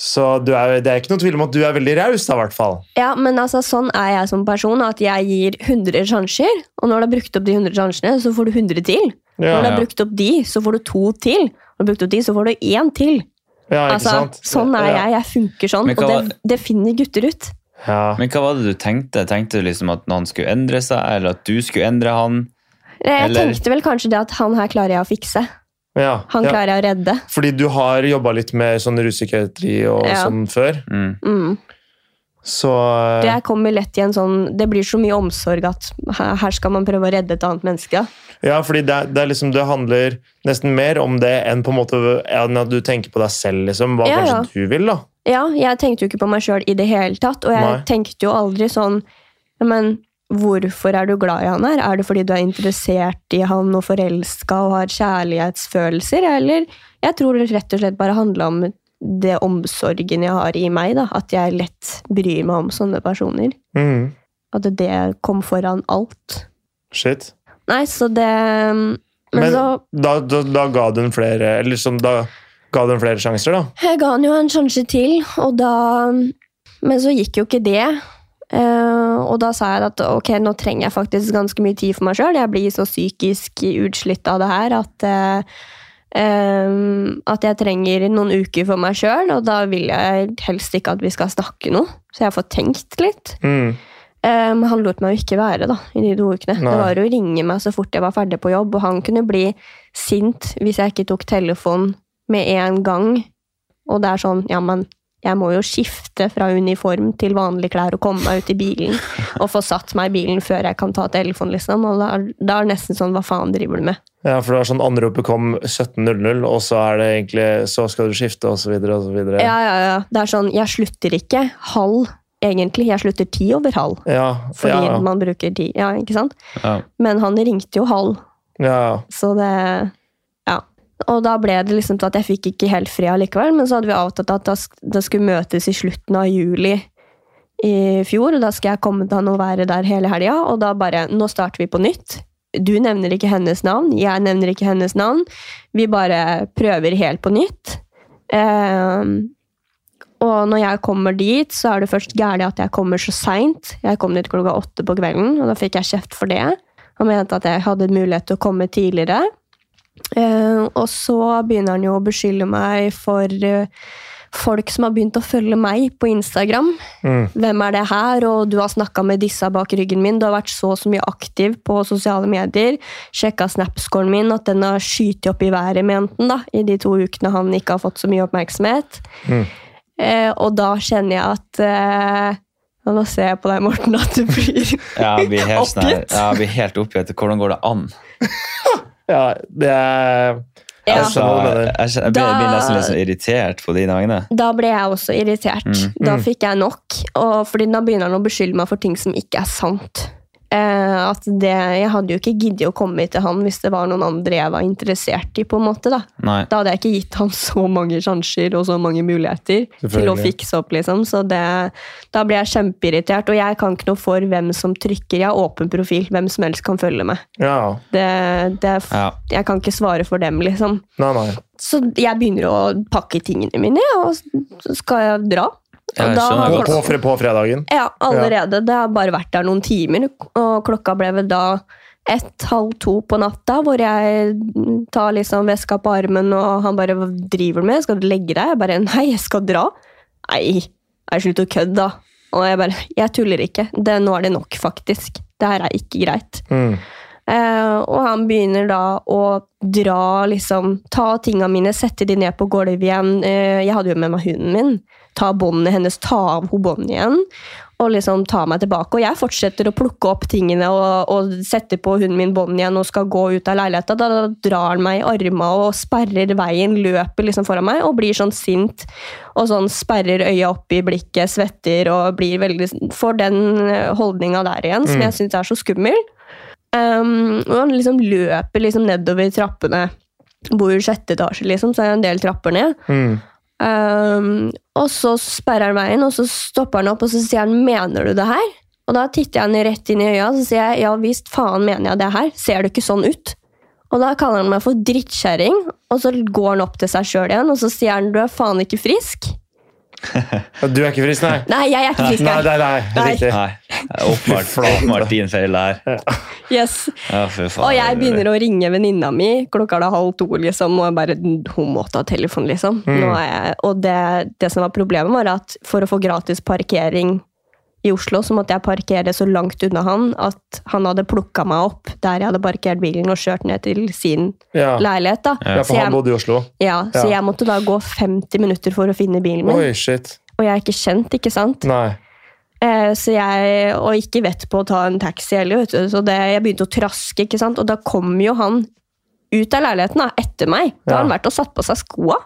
S2: Så du er, det er ikke noe tvil om at du er veldig raus, da, i hvert fall.
S3: Ja, men altså, sånn er jeg som person, at jeg gir 100 sjanser, og når du har brukt opp de 100 sjansene, så får du 100 til. Når du
S2: Ja,
S1: ja.
S3: har brukt opp de, så får du to til. Når du har brukt opp de, så får du én til.
S2: ja ikke
S3: Altså,
S2: sant?
S3: sånn er jeg. Jeg funker sånn,
S1: Men hva
S3: og
S1: var-
S3: det, det finner gutter ut.
S2: Ja.
S1: Men hva var det du tenkte? Tenkte du liksom at noen skulle endre seg, eller at du skulle endre han?
S3: Jeg
S1: Eller-
S3: tenkte vel kanskje det at han her klarer jeg å fikse.
S2: Ja.
S3: Han
S2: Ja.
S3: klarer jeg å redde.
S2: Fordi du har jobba litt med sånn ruspsykiatri og
S3: Ja.
S2: sånn før.
S1: Mm.
S3: Mm.
S2: Så
S3: Det
S2: Eh.
S3: jeg kommer lett i en sånn Det blir så mye omsorg at her her skal man prøve å redde et annet menneske.
S2: Ja, fordi det, er- det, er liksom, det handler nesten mer om det enn på en måte enn at du tenker på deg selv, liksom. Hva
S3: Ja, ja.
S2: kanskje du vil, da.
S3: Ja, jeg tenkte jo ikke på meg sjøl i det hele tatt, og jeg
S2: Nei.
S3: tenkte jo aldri sånn «Ja, Men hvorfor er du glad i han her? Er det fordi du er interessert i han og forelska og har kjærlighetsfølelser, eller Jeg tror det rett og slett bare handla om det omsorgen jeg har i meg, da. At jeg lett bryr meg om sånne personer.
S2: Mhm.
S3: At det kom foran alt.
S2: Shit.
S3: Nei, så det mm, Men,
S2: Men-
S3: så
S2: Da, da, da ga du en flere Eller liksom, da ga du en flere sjanser, da.
S3: Jeg ga han jo en sjanse til, og da Men så gikk jo ikke det. Eh, og da sa jeg at ok, nå trenger jeg faktisk ganske mye tid for meg sjøl. Jeg blir så psykisk utslitt av det her at eh, eh, At jeg trenger noen uker for meg sjøl, og da vil jeg helst ikke at vi skal snakke noe. Så jeg får tenkt litt.
S2: Mhm.
S3: Eh, Men han lot meg jo ikke være da, i de to ukene.
S2: Nei.
S3: Det var å ringe meg så fort jeg var ferdig på jobb, og han kunne bli sint hvis jeg ikke tok telefon med en gang. Og det er sånn, ja, men jeg må jo skifte fra uniform til vanlige klær og komme meg ut i bilen, og få satt meg i bilen før jeg kan ta telefonen, liksom. Og da, er- da er det nesten sånn, hva faen driver du med?
S2: Ja, for det var sånn anropet kom 17.00, og så er det egentlig Så skal du skifte, og så videre, og så videre.
S3: Ja, ja, ja. Det er sånn, jeg slutter ikke halv, egentlig. Jeg slutter ti over halv,
S2: Ja,
S3: fordi
S2: ja, ja.
S3: man bruker ti. Ja, ikke sant?
S1: Ja.
S3: Men han ringte jo halv,
S2: ja.
S3: Så det Ja. Og da ble det liksom til at jeg fikk ikke helt fri allikevel, men så hadde vi avtalt at da sk- det skulle møtes i slutten av juli i fjor, og da skal jeg komme til han og være der hele helga, og da bare Nå starter vi på nytt. Du nevner ikke hennes navn, jeg nevner ikke hennes navn. Vi bare prøver helt på nytt. Ehm, og når jeg kommer dit, så er det først gærent at jeg kommer så seint. Jeg kom dit klokka åtte på kvelden, og da fikk jeg kjeft for det. Han mente at jeg hadde mulighet til å komme tidligere. Eh, og så begynner han jo å beskylde meg for eh, folk som har begynt å følge meg på Instagram.
S2: Mm.
S3: Hvem er det her? Og du har snakka med disse bak ryggen min. Du har vært så og så mye aktiv på sosiale medier. Sjekka snapscoren min, at den har skytet opp i været, mente han, da, i de to ukene han ikke har fått så mye oppmerksomhet.
S2: Mm.
S3: Eh, og da kjenner jeg at eh, Og nå ser jeg på deg, Morten, at du blir
S1: Ja, jeg blir helt, sånn her-
S3: Oppgitt?
S1: ja, jeg blir helt oppgitt. Hvordan går det an?
S2: Ja, det er
S3: ja.
S1: Altså,
S2: skjønner hva du mener.
S1: jeg, skjønner- jeg blir, jeg blir
S3: Da-
S1: nesten litt sånn irritert på dine vegne.
S3: Da ble jeg også irritert.
S1: Mm.
S3: Da
S2: Mm.
S3: fikk jeg nok. Og fordi da begynner han å beskylde meg for ting som ikke er sant. Eh, at det, Jeg hadde jo ikke giddet å komme hit til han hvis det var noen andre jeg var interessert i. på en måte Da
S1: Nei.
S3: Da hadde jeg ikke gitt han [LAUGHS] så mange sjanser og så mange muligheter til å
S2: Selvfølgelig.
S3: fikse opp. liksom Så det, Da ble jeg kjempeirritert. Og jeg kan ikke noe for hvem som trykker. Jeg har åpen profil. Hvem som helst kan følge meg.
S2: Ja.
S3: Det, det, er f-
S1: Ja.
S3: Jeg kan ikke svare for dem, liksom.
S2: Nei, nei.
S3: Så jeg begynner å pakke tingene mine, ja, og så skal jeg dra.
S1: Ja,
S3: Og
S1: jeg
S3: da
S1: skjønner
S3: var
S2: På,
S1: godt.
S3: klokka,
S2: på, fre- på fredagen.
S3: ja, allerede. Det har bare vært der noen timer, og klokka ble vel da ett, halv to på natta, hvor jeg tar liksom veska på armen, og han bare "Hva driver du med? Skal du legge deg? Jeg bare nei, jeg skal dra. Nei, jeg slutt å kødde, da. Og jeg bare jeg tuller ikke. Det, nå er det nok, faktisk. Det her er ikke greit.
S2: Mm.
S3: Eh, og han begynner da å dra, liksom Ta tinga mine, sette de ned på gulvet igjen. Eh, jeg hadde jo med meg hunden min. Ta båndet hennes, ta av henne båndet igjen. Og liksom ta meg tilbake. Og jeg fortsetter å plukke opp tingene og, og sette på hunden min bånd igjen og skal gå ut av leiligheta. Da, da drar han meg i arma og sperrer veien, løper liksom foran meg og blir sånn sint. Og sånn sperrer øya opp i blikket, svetter og blir veldig Får den holdninga der igjen, som
S2: Mm.
S3: jeg syns er så skummel. Um, og han liksom løper liksom nedover trappene. Bor i sjette etasje, liksom, så er det en del trapper ned.
S2: Mm.
S3: Um, og så sperrer han veien, og så stopper han opp, og så sier han 'mener du det her?' Og da titter jeg han rett inn i øya, og så sier jeg 'ja visst, faen mener jeg det her', ser det ikke sånn ut? Og da kaller han meg for drittkjerring, og så går han opp til seg sjøl igjen, og så sier han 'du er faen ikke frisk'.
S2: Du er ikke frisk, nei?
S3: Nei, jeg er ikke
S2: [LAUGHS]
S3: frisk.
S2: Nei,
S3: jeg.
S2: nei, nei.
S3: Nei.
S2: Riktig.
S1: Nei. det er
S2: [LAUGHS]
S1: Åpenbart,
S2: Fy flate.
S1: åpenbart din feil der.
S3: Yes.
S1: Ja, fy faen.
S3: Og jeg begynner å ringe venninna mi, klokka er da halv to, liksom, og jeg bare Hun må ta telefonen, liksom.
S2: Mm.
S3: Nå er jeg, og det, det som var problemet, var at for å få gratis parkering i Oslo, så måtte jeg parkere så langt unna han at han hadde plukka meg opp der jeg hadde parkert bilen, og kjørt ned til sin
S2: Ja.
S3: leilighet, da.
S2: ja,
S3: Så
S2: for han
S3: jeg,
S2: bodde i Oslo.
S3: ja, så
S2: Ja.
S3: jeg måtte da gå 50 minutter for å finne bilen min,
S2: Oi, shit.
S3: og jeg er ikke kjent, ikke sant?
S2: Nei.
S3: Eh, Så jeg, og ikke vett på å ta en taxi heller, vet du. Så det, jeg begynte å traske, ikke sant? Og da kom jo han ut av leiligheten da, etter meg. Da har
S2: Ja.
S3: han vært og satt på seg skoa.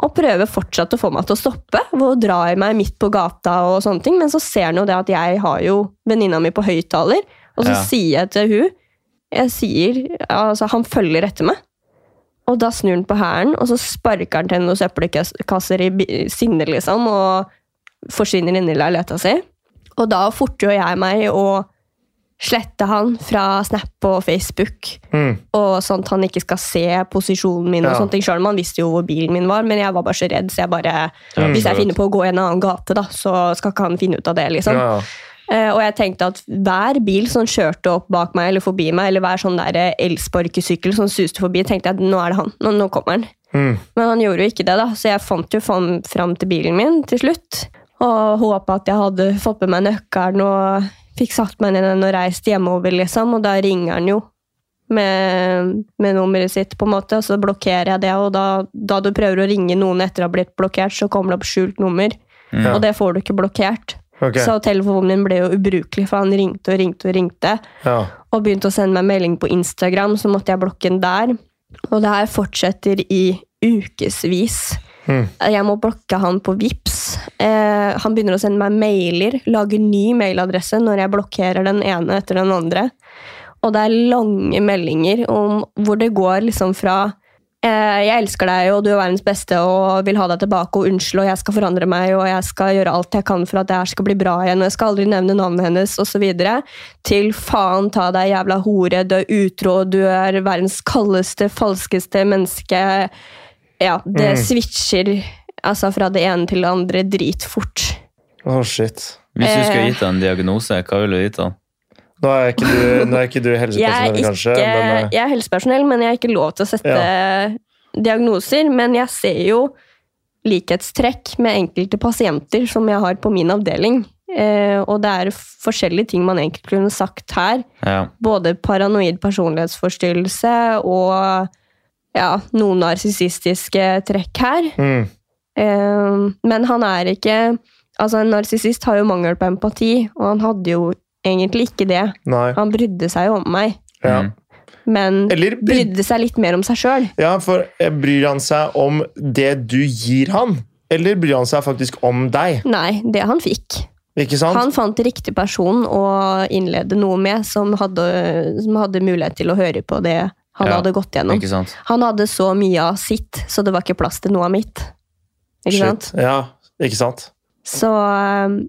S3: Og prøver fortsatt å få meg til å stoppe. Hvor hun drar meg midt på gata og sånne ting. Men så ser han jo det at jeg har jo venninna mi på høyttaler. Og så
S1: Ja.
S3: sier jeg til hun Jeg sier Altså, han følger etter meg. Og da snur han på hælen, og så sparker han til noen søppelkasser i bi- sinne, liksom. Og forsvinner inn i leiligheta si. Og da forter jo jeg meg å slette han fra Snap og Facebook,
S2: Mm.
S3: og sånn at han ikke skal se posisjonen min. og
S2: Ja.
S3: sånne ting. Selv om han visste jo hvor bilen min var, men jeg var bare så redd. så jeg bare,
S2: Mm.
S1: Ja,
S3: Hvis jeg
S1: absolutt.
S3: finner på å gå i en annen gate, da, så skal ikke han finne ut av det.
S2: Ja,
S3: liksom.
S2: ja.
S3: Eh, og jeg tenkte at hver bil som kjørte opp bak meg eller forbi meg, eller hver sånn der eh, elsparkesykkel som suste forbi, tenkte jeg at nå er det han. Nå, nå kommer han.
S2: Mm.
S3: Men han gjorde jo ikke det, da, så jeg fant jo fram, fram til bilen min til slutt. Og håpa at jeg hadde fått med meg nøkkelen og fikk satt meg ned i den og reist hjemover, liksom. Og da ringer han jo med, med nummeret sitt, på en måte, og så blokkerer jeg det. Og da, da du prøver å ringe noen etter å ha blitt blokkert, så kommer det opp skjult nummer.
S1: Mm.
S3: Og det får du ikke blokkert.
S2: Ok.
S3: Så telefonen min ble jo ubrukelig, for han ringte og ringte og ringte.
S2: Ja.
S3: Og begynte å sende meg melding på Instagram, så måtte jeg blokke den der. Og det her fortsetter i ukevis.
S2: Mm.
S3: Jeg må blokke han på Vips. Eh, han begynner å sende meg mailer, lage ny mailadresse når jeg blokkerer den ene etter den andre. Og det er lange meldinger om hvor det går liksom fra eh, Jeg elsker deg, og du er verdens beste, og vil ha deg tilbake, og unnskyld, og jeg skal forandre meg, og jeg skal gjøre alt jeg kan for at det her skal bli bra igjen, og jeg skal aldri nevne navnet hennes, osv. Til faen ta deg, jævla hore, du er utro, du er verdens kaldeste, falskeste menneske. Ja, det switcher altså fra det ene til det andre dritfort.
S2: Å, shit.
S1: Hvis du skulle
S3: Eh.
S1: gitt han en diagnose, hva ville du gitt han?
S2: Nå er ikke du, nå er ikke du
S3: Jeg er,
S2: helsepersonell,
S3: ikke,
S2: kanskje. Men, eh,
S3: jeg er helsepersonell, men jeg er ikke lov til å sette diagnoser. Men jeg ser jo likhetstrekk med enkelte pasienter som jeg har på min avdeling. Eh, og det er forskjellige ting man egentlig kunne sagt her.
S1: Ja.
S3: Både paranoid personlighetsforstyrrelse og ja, noen narsissistiske trekk her.
S2: mm.
S3: Eh, men han er ikke Altså, en narsissist har jo mangel på empati, og han hadde jo egentlig ikke det.
S2: Nei.
S3: Han brydde seg jo om meg,
S2: Ja.
S1: Mm.
S3: men
S2: Eller bryd-
S3: brydde seg litt mer om seg sjøl.
S2: ja, for eh, bryr han seg om det du gir han? Eller bryr han seg faktisk om deg?
S3: Nei, det han fikk.
S2: Ikke sant?
S3: Han fant riktig person å innlede noe med, som hadde, som hadde mulighet til å høre på det han
S1: Ja,
S3: hadde gått gjennom.
S1: Ikke sant?
S3: Han hadde så mye av sitt, så det var ikke plass til noe av mitt. Ikke sant?
S2: Shit. Ja, ikke sant?
S3: Så um,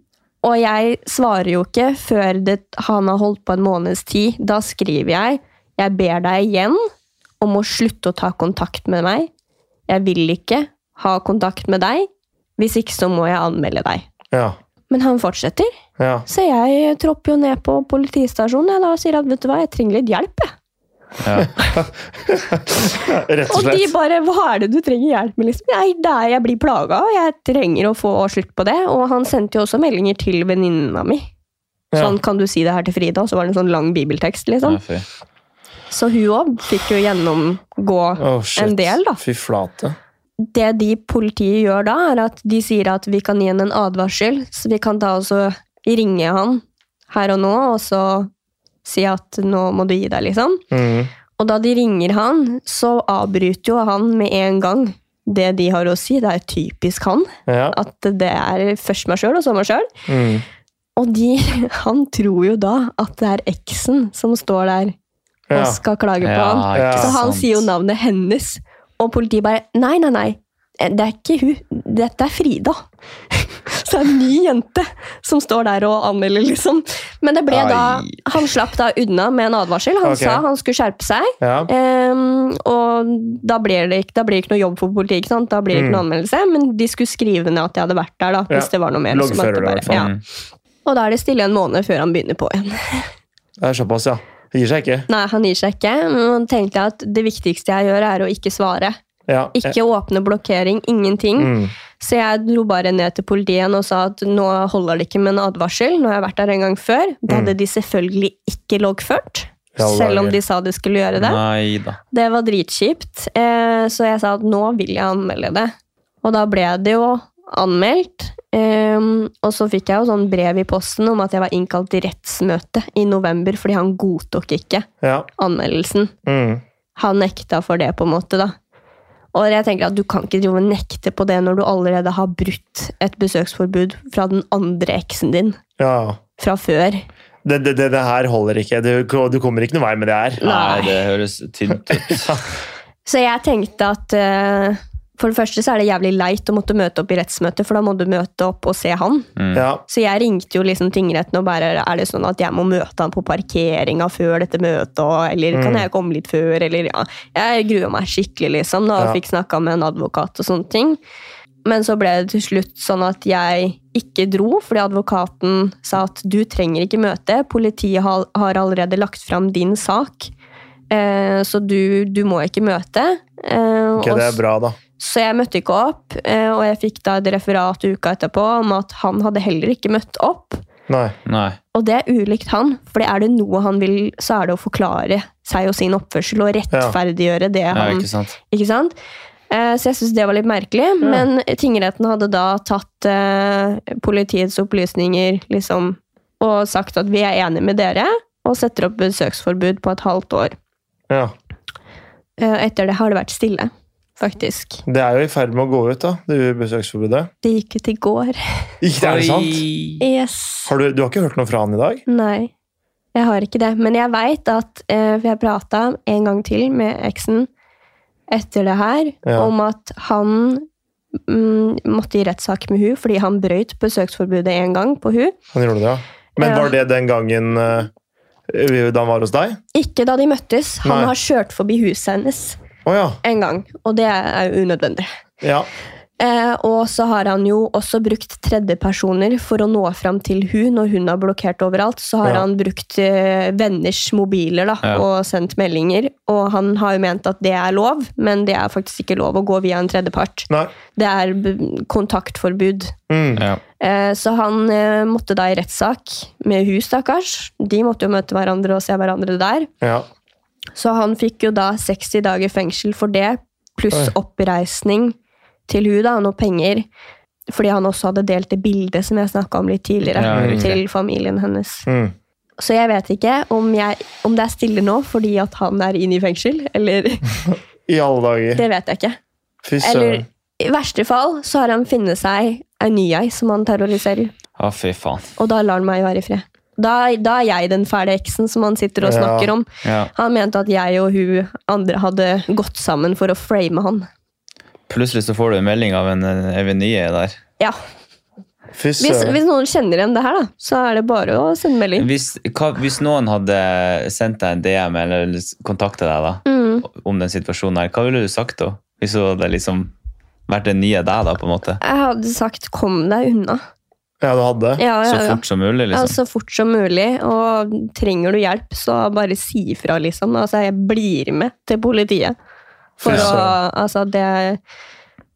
S3: Og jeg svarer jo ikke før det, han har holdt på en måneds tid. Da skriver jeg Jeg ber deg igjen om å slutte å ta kontakt med meg. Jeg vil ikke ha kontakt med deg. Hvis ikke så må jeg anmelde deg.
S2: Ja.
S3: Men han fortsetter.
S2: ja.
S3: Så jeg tropper jo ned på politistasjonen jeg da, og sier at vet du hva, jeg trenger litt hjelp. Jeg.
S1: Ja.
S2: Rett og
S3: Og de
S2: slett.
S3: bare Hva er det du trenger hjelp med? liksom? Nei, det er jeg blir plaga, og jeg trenger å få slutt på det. Og han sendte jo også meldinger til venninna mi.
S2: Ja.
S3: Sånn, kan du si det her til Frida? Og så var det en sånn lang bibeltekst,
S1: Ja,
S3: liksom.
S1: fy.
S3: Så hun òg fikk jo gjennomgå
S2: Å, shit.
S3: en del, da.
S2: Fy flate.
S3: det de politiet gjør da, er at de sier at vi kan gi han en advarsel, så vi kan da også ringe han her og nå, og så si at nå må du gi deg, liksom.
S2: Mm.
S3: Og da de ringer han, så avbryter jo han med en gang det de har å si. Det er typisk han,
S2: Ja.
S3: at det er først meg sjøl, og så meg sjøl.
S2: Mm.
S3: Og de, [LAUGHS] han tror jo da at det er eksen som står der og
S2: Ja.
S3: skal klage på han.
S1: Ja, ikke
S2: Ja.
S3: Så han
S1: sant.
S3: sier jo navnet hennes, og politiet bare Nei, nei, nei. eh, Det er ikke hun. Dette er Frida. [LAUGHS] Så det er en ny jente som står der og anmelder, liksom. Men det ble
S1: Ai.
S3: da Han slapp da unna med en advarsel. Han
S2: Ok.
S3: sa han skulle skjerpe seg,
S2: Ja.
S3: ehm, og da blir, det ikke, da blir det ikke noe jobb for politiet. ikke sant? Da blir det ikke noe anmeldelse, men de skulle skrive ned at jeg hadde vært der, da,
S2: Mm.
S3: hvis
S2: Ja.
S3: det var noe mer. som at
S2: Loggfører det, i hvert fall.
S3: ja.
S1: Mm.
S3: Og da er det stille en måned før han begynner på igjen. [LAUGHS]
S2: Det er såpass, ja. Det gir seg ikke.
S3: Nei, han gir seg ikke, men tenkte jeg at det viktigste jeg gjør, er å ikke svare.
S2: Ja.
S3: Ikke åpne blokkering, ingenting.
S2: Mm.
S3: Så jeg dro bare ned til politiet igjen og sa at nå holder det ikke med en advarsel. Nå har jeg vært der en gang før. Det
S2: Mm.
S3: hadde de selvfølgelig ikke loggført.
S2: Ja, det er
S3: Selv om
S2: gøy.
S3: de sa de skulle gjøre det.
S1: Nei da.
S3: Det var dritkjipt. Eh, Så jeg sa at nå vil jeg anmelde det. Og da ble det jo anmeldt. Ehm, og så fikk jeg jo sånn brev i posten om at jeg var innkalt til rettsmøte i november fordi han godtok ikke
S2: Ja.
S3: anmeldelsen
S2: Mm.
S3: han nekta for det, på en måte. da. Og jeg tenker at Du kan ikke drive og nekte på det når du allerede har brutt et besøksforbud fra den andre eksen din
S2: ja.
S3: fra før.
S2: Det, det, det, det her holder ikke. Du, du kommer ikke noen vei med det her.
S1: Nei, det høres tynt
S3: [LAUGHS]
S1: ut.
S3: Så jeg tenkte at eh, for det første så er det jævlig leit å måtte møte opp i rettsmøte, for da må du møte opp og se han.
S1: Mm.
S2: Ja.
S3: Så jeg ringte jo liksom tingretten og bare Er det sånn at jeg må møte han på parkeringa før dette møtet, og- eller kan
S2: Mm.
S3: jeg komme litt før, eller ja. Jeg grua meg skikkelig, liksom, da, og
S2: Ja.
S3: fikk snakka med en advokat og sånne ting. Men så ble det til slutt sånn at jeg ikke dro, fordi advokaten sa at du trenger ikke møte, politiet har har allerede lagt fram din sak, eh, så du, du må ikke møte. Eh,
S2: Ok,
S3: og
S2: det
S3: så-
S2: er bra, da.
S3: så jeg møtte ikke opp, eh, og jeg fikk da et referat uka etterpå om at han hadde heller ikke møtt opp.
S2: Nei.
S1: Nei.
S3: Og det er ulikt han, for er det noe han vil, så er det å forklare seg og sin oppførsel og rettferdiggjøre det
S1: Ja,
S3: han
S1: ikke sant.
S3: ikke sant? Eh, Så jeg syns det var litt merkelig. Men tingretten hadde da tatt eh, politiets opplysninger liksom, og sagt at vi er enige med dere, og setter opp besøksforbud på et halvt år.
S2: Ja.
S3: Eh, Etter det har det vært stille, faktisk.
S2: Det er jo i ferd med å gå ut, da, det besøksforbudet.
S3: Det gikk ut i går.
S2: Ikke det, er det sant?
S1: Oi.
S3: Yes.
S2: Har du, du har ikke hørt noe fra han i dag?
S3: Nei, jeg har ikke det. Men jeg veit at eh, For jeg prata en gang til med eksen etter det her
S2: Ja.
S3: om at han mm, måtte i rettssak med hun fordi han brøyt besøksforbudet en gang på hun.
S2: Han gjorde det, ja. Men
S3: Ja.
S2: var det den gangen eh, da han var hos deg?
S3: Ikke da de møttes. Han
S2: Nei.
S3: har kjørt forbi huset hennes
S2: Å ja.
S3: en gang, og det er jo unødvendig.
S2: ja.
S3: Eh, og så har han jo også brukt tredjepersoner for å nå fram til hun når hun har blokkert overalt. Så har
S2: Ja.
S3: han brukt eh, venners mobiler da,
S1: Ja.
S3: og sendt meldinger. Og han har jo ment at det er lov, men det er faktisk ikke lov å gå via en tredjepart.
S2: Nei.
S3: Det er b- kontaktforbud.
S2: Mm.
S1: Ja.
S3: Eh, så han eh, måtte da i rettssak med hun, stakkars. De måtte jo møte hverandre og se hverandre der.
S2: Ja.
S3: Så han fikk jo da 60 dager fengsel for det, pluss
S2: Oi.
S3: oppreisning til hun da, og noe penger. Fordi han også hadde delt det bildet som jeg snakka om litt tidligere,
S1: Ja, riktig.
S3: til familien hennes.
S2: Mm.
S3: Så jeg vet ikke om, jeg, om det er stille nå fordi at han er inne i fengsel, eller [LAUGHS]
S2: I alle dager.
S3: Det vet jeg ikke.
S2: Fy
S3: Eller
S2: søren.
S3: i verste fall så har han funnet seg ei ny ei som han terroriserer,
S1: Å, fy faen.
S3: og da lar han meg være i fred. Da, da er jeg den fæle eksen som han sitter og
S2: Ja.
S3: snakker om.
S1: Ja.
S3: Han mente at jeg og hun andre hadde gått sammen for å frame han.
S1: Plutselig så får du en melding av en eh, Evenye der.
S3: Ja,
S2: Fy
S3: hvis,
S2: søren.
S3: hvis noen kjenner igjen det her, da, så er det bare å sende melding.
S1: Hvis, hva, hvis noen hadde sendt deg en DM eller kontakta deg da,
S3: Mm.
S1: om den situasjonen her, hva ville du sagt da? Hvis hun hadde liksom vært den nye deg da, på en måte?
S3: Jeg hadde sagt 'kom deg unna'.
S2: Ja, du hadde.
S3: Ja, ja,
S1: Så
S3: ja.
S1: fort som mulig,
S3: Ja, altså.
S1: liksom?
S3: så fort som mulig. Og trenger du hjelp, så bare si ifra, liksom. Altså, jeg blir med til politiet. For
S1: Ja.
S3: å Altså, det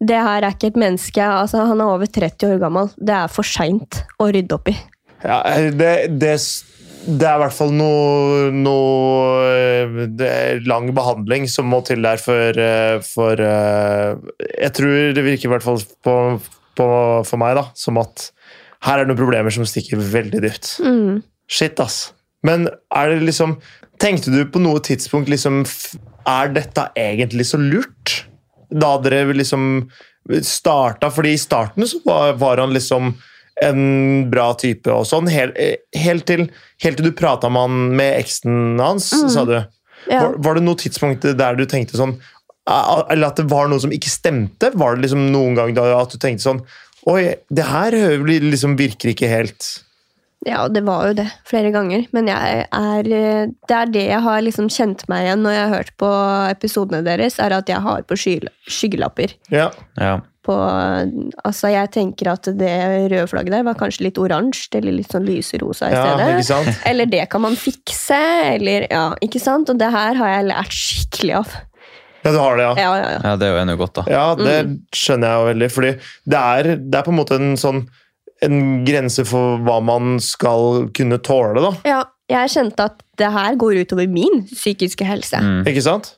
S3: Det her er ikke et menneske. Altså, han er over 30 år gammel. Det er for seint å rydde opp i.
S2: Ja, eh, det, det, det er i hvert fall noe, noe eh, det er lang behandling som må til der for, eh, for eh, Jeg tror det virker i hvert fall på, på, for meg da, som at her er det noen problemer som stikker veldig dypt.
S3: Mm.
S2: Shit, ass. Men er det liksom Tenkte du på noe tidspunkt liksom f- Er dette egentlig så lurt? Da dere liksom starta Fordi i starten så var, var han liksom en bra type og sånn. Helt, helt, til, helt til du prata med han med eksen hans, sa du.
S3: Ja.
S2: Var, var det noe tidspunkt der du tenkte sånn a- Eller at det var noe som ikke stemte? Var det liksom noen gang da at du tenkte sånn Oi, det her hø- liksom virker ikke helt
S3: Ja, det var jo det flere ganger. Men jeg er, eh, det er det jeg har liksom kjent meg igjen når jeg har hørt på episodene deres, er at jeg har på sky- skyggelapper.
S2: Ja.
S1: Ja.
S3: På, eh, altså, jeg tenker at det røde flagget der var kanskje litt oransje eller litt sånn lyserosa i
S2: ja ikke
S3: stedet.
S2: sant?
S3: Eller det kan man fikse, eller ja, ikke sant? Og det her har jeg lært skikkelig av.
S2: Ja, du har det, ja.
S3: Ja, ja, ja.
S1: ja, det er jo ennå godt, da.
S2: Ja, det skjønner jeg jo veldig. Fordi det er, det er på en måte en sånn en grense for hva man skal kunne tåle, da.
S3: ja. Jeg kjente at det her går utover min psykiske helse.
S1: Mm.
S2: Ikke sant?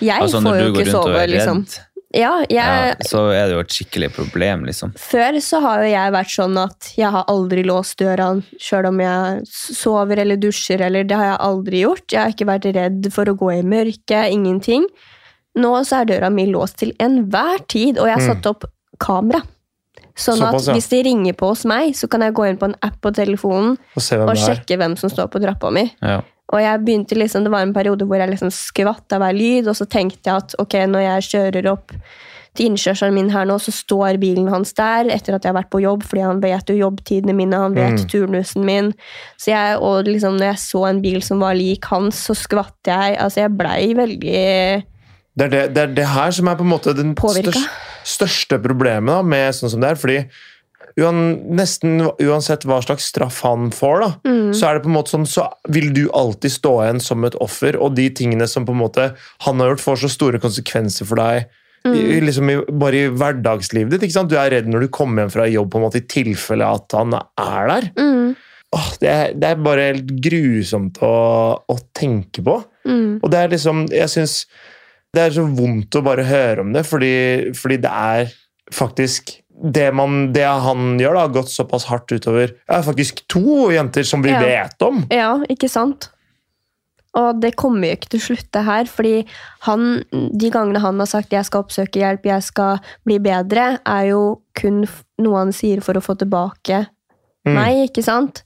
S3: Jeg
S1: Altså,
S3: får
S1: når du
S3: jo
S1: går
S3: ikke
S1: rundt og
S3: sove,
S1: er
S3: liksom.
S1: redd,
S3: Ja,
S1: ja,
S3: jeg,
S1: så er det jo et skikkelig problem, liksom.
S3: Før så har jo jeg vært sånn at jeg har aldri låst døra sjøl om jeg sover eller dusjer, eller det har jeg aldri gjort. Jeg har ikke vært redd for å gå i mørket, ingenting. Nå så er døra mi låst til enhver tid, og jeg har
S2: Mm.
S3: satt opp kamera. Sånn
S2: Såpass, ja.
S3: at hvis de ringer på hos meg, så kan jeg gå inn på en app på telefonen
S2: Og se hvem
S3: og
S2: det er.
S3: sjekke hvem som står på trappa mi.
S1: Ja.
S3: Og jeg begynte liksom, Det var en periode hvor jeg liksom skvatt av hver lyd, og så tenkte jeg at ok, når jeg kjører opp til innkjørselen min her nå, så står bilen hans der etter at jeg har vært på jobb, fordi han vet jo jobbtidene mine, han vet
S2: Mm.
S3: turnusen min. Så jeg, og liksom, når jeg så en bil som var lik hans, så skvatt jeg. Altså, jeg blei veldig
S2: Det er det, det er det her som er på en måte den
S3: Påvirka.
S2: største, største problemet da, med sånn som det er. Fordi uan, nesten uansett hva slags straff han får, da,
S3: Mm.
S2: så er det på en måte sånn, så vil du alltid stå igjen som et offer. Og de tingene som på en måte han har gjort, får så store konsekvenser for deg. I, i liksom i, bare i hverdagslivet ditt. ikke sant? Du er redd når du kommer hjem fra jobb, på en måte, i tilfelle at han er der.
S3: mm,
S2: Åh, det, er, det er bare helt grusomt å, å tenke på.
S3: mm,
S2: Og det er liksom, jeg synes det er så vondt å bare høre om det, fordi, fordi det er faktisk det, man, det han gjør, da, har gått såpass hardt utover Det er faktisk to jenter som vi
S3: Ja.
S2: vet om!
S3: Ja, ikke sant? Og det kommer jo ikke til å slutte her, fordi han, de gangene han har sagt 'jeg skal oppsøke hjelp, jeg skal bli bedre', er jo kun f- noe han sier for å få tilbake
S2: Mm.
S3: meg, ikke sant?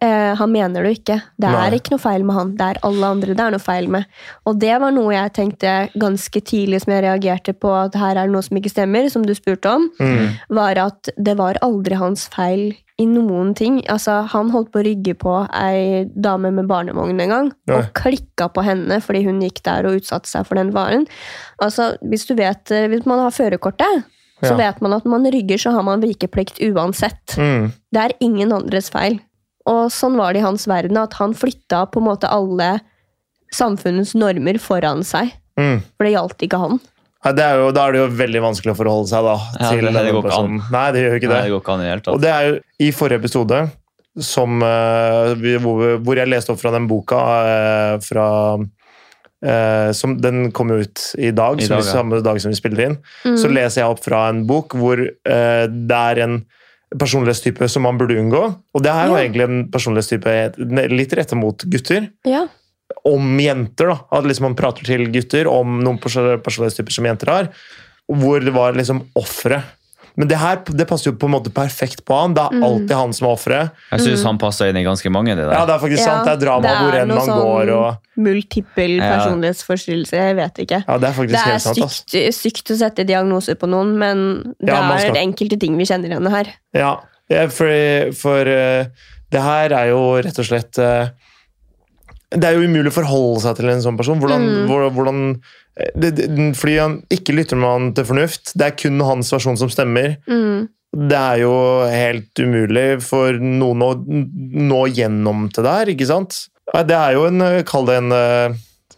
S3: Eh, han mener det jo ikke. Det
S2: Nei.
S3: er ikke noe feil med han. Det er alle andre det er noe feil med. Og det var noe jeg tenkte ganske tidlig som jeg reagerte på at her er det noe som ikke stemmer, som du spurte om
S2: Mm.
S3: var at det var aldri hans feil i noen ting. Altså, han holdt på å rygge på ei dame med barnevogn en gang,
S2: Nei.
S3: og klikka på henne fordi hun gikk der og utsatte seg for den varen. Altså, hvis, du vet, eh, hvis man har førerkortet,
S2: Ja.
S3: så vet man at når man rygger, så har man vikeplikt uansett.
S2: Mm.
S3: Det er ingen andres feil. Og sånn var det i hans verden, at han flytta på en måte alle samfunnets normer foran seg.
S2: Mm.
S3: For det gjaldt ikke han.
S2: Nei, det er jo, da er det jo veldig vanskelig å forholde seg da,
S1: Ja,
S2: til
S1: det- det
S2: denne
S1: går ikke an.
S2: personen. Nei, det gjør jo ikke
S1: Nei,
S2: det.
S1: det går ikke an i det hele
S2: Og
S1: tatt.
S2: det er jo i forrige episode som, eh, vi- hvor, hvor jeg leste opp fra den boka eh, fra eh, som, Den kom jo ut i dag,
S1: I
S2: som
S1: dag,
S2: vi,
S1: ja.
S2: samme dag som vi spiller inn.
S3: Mm.
S2: Så leser jeg opp fra en bok hvor eh, det er en personlighetstype som man burde unngå. Og det er jo
S3: Ja.
S2: egentlig en personlighetstype litt retta mot gutter.
S3: ja.
S2: om jenter. da, At liksom man prater til gutter om noen pers- personlighetstyper som jenter har. Hvor det var liksom offeret. Men det her det passer jo på en måte perfekt på han. Det er
S3: Mm.
S2: alltid han som er offeret.
S1: Jeg syns han passer inn i ganske mange, det der.
S2: Ja, det er faktisk
S3: Ja,
S2: sant. Det er drama
S3: det er
S2: hvor enn
S3: noe
S2: man
S3: sånn-
S2: går og
S3: Multiple
S1: Ja.
S3: personlighetsforstyrrelse. Jeg vet ikke.
S2: Ja, det er faktisk
S3: Det er
S2: helt sant. ass.
S3: sykt, sykt å sette diagnoser på noen, men det
S2: Ja, man
S3: er
S2: skal-
S3: enkelte ting vi kjenner igjen her.
S2: Ja, ja, for, for eh, det her er jo rett og slett eh, Det er jo umulig å forholde seg til en sånn person. Hvordan,
S3: Mm.
S2: hvor- hvordan eh, det, det, Fordi han ikke lytter man til fornuft. Det er kun hans versjon som stemmer.
S3: Mm.
S2: Det er jo helt umulig for noen å nå gjennom til det her, ikke sant? Ja, Det er jo en, eh, kall det en eh,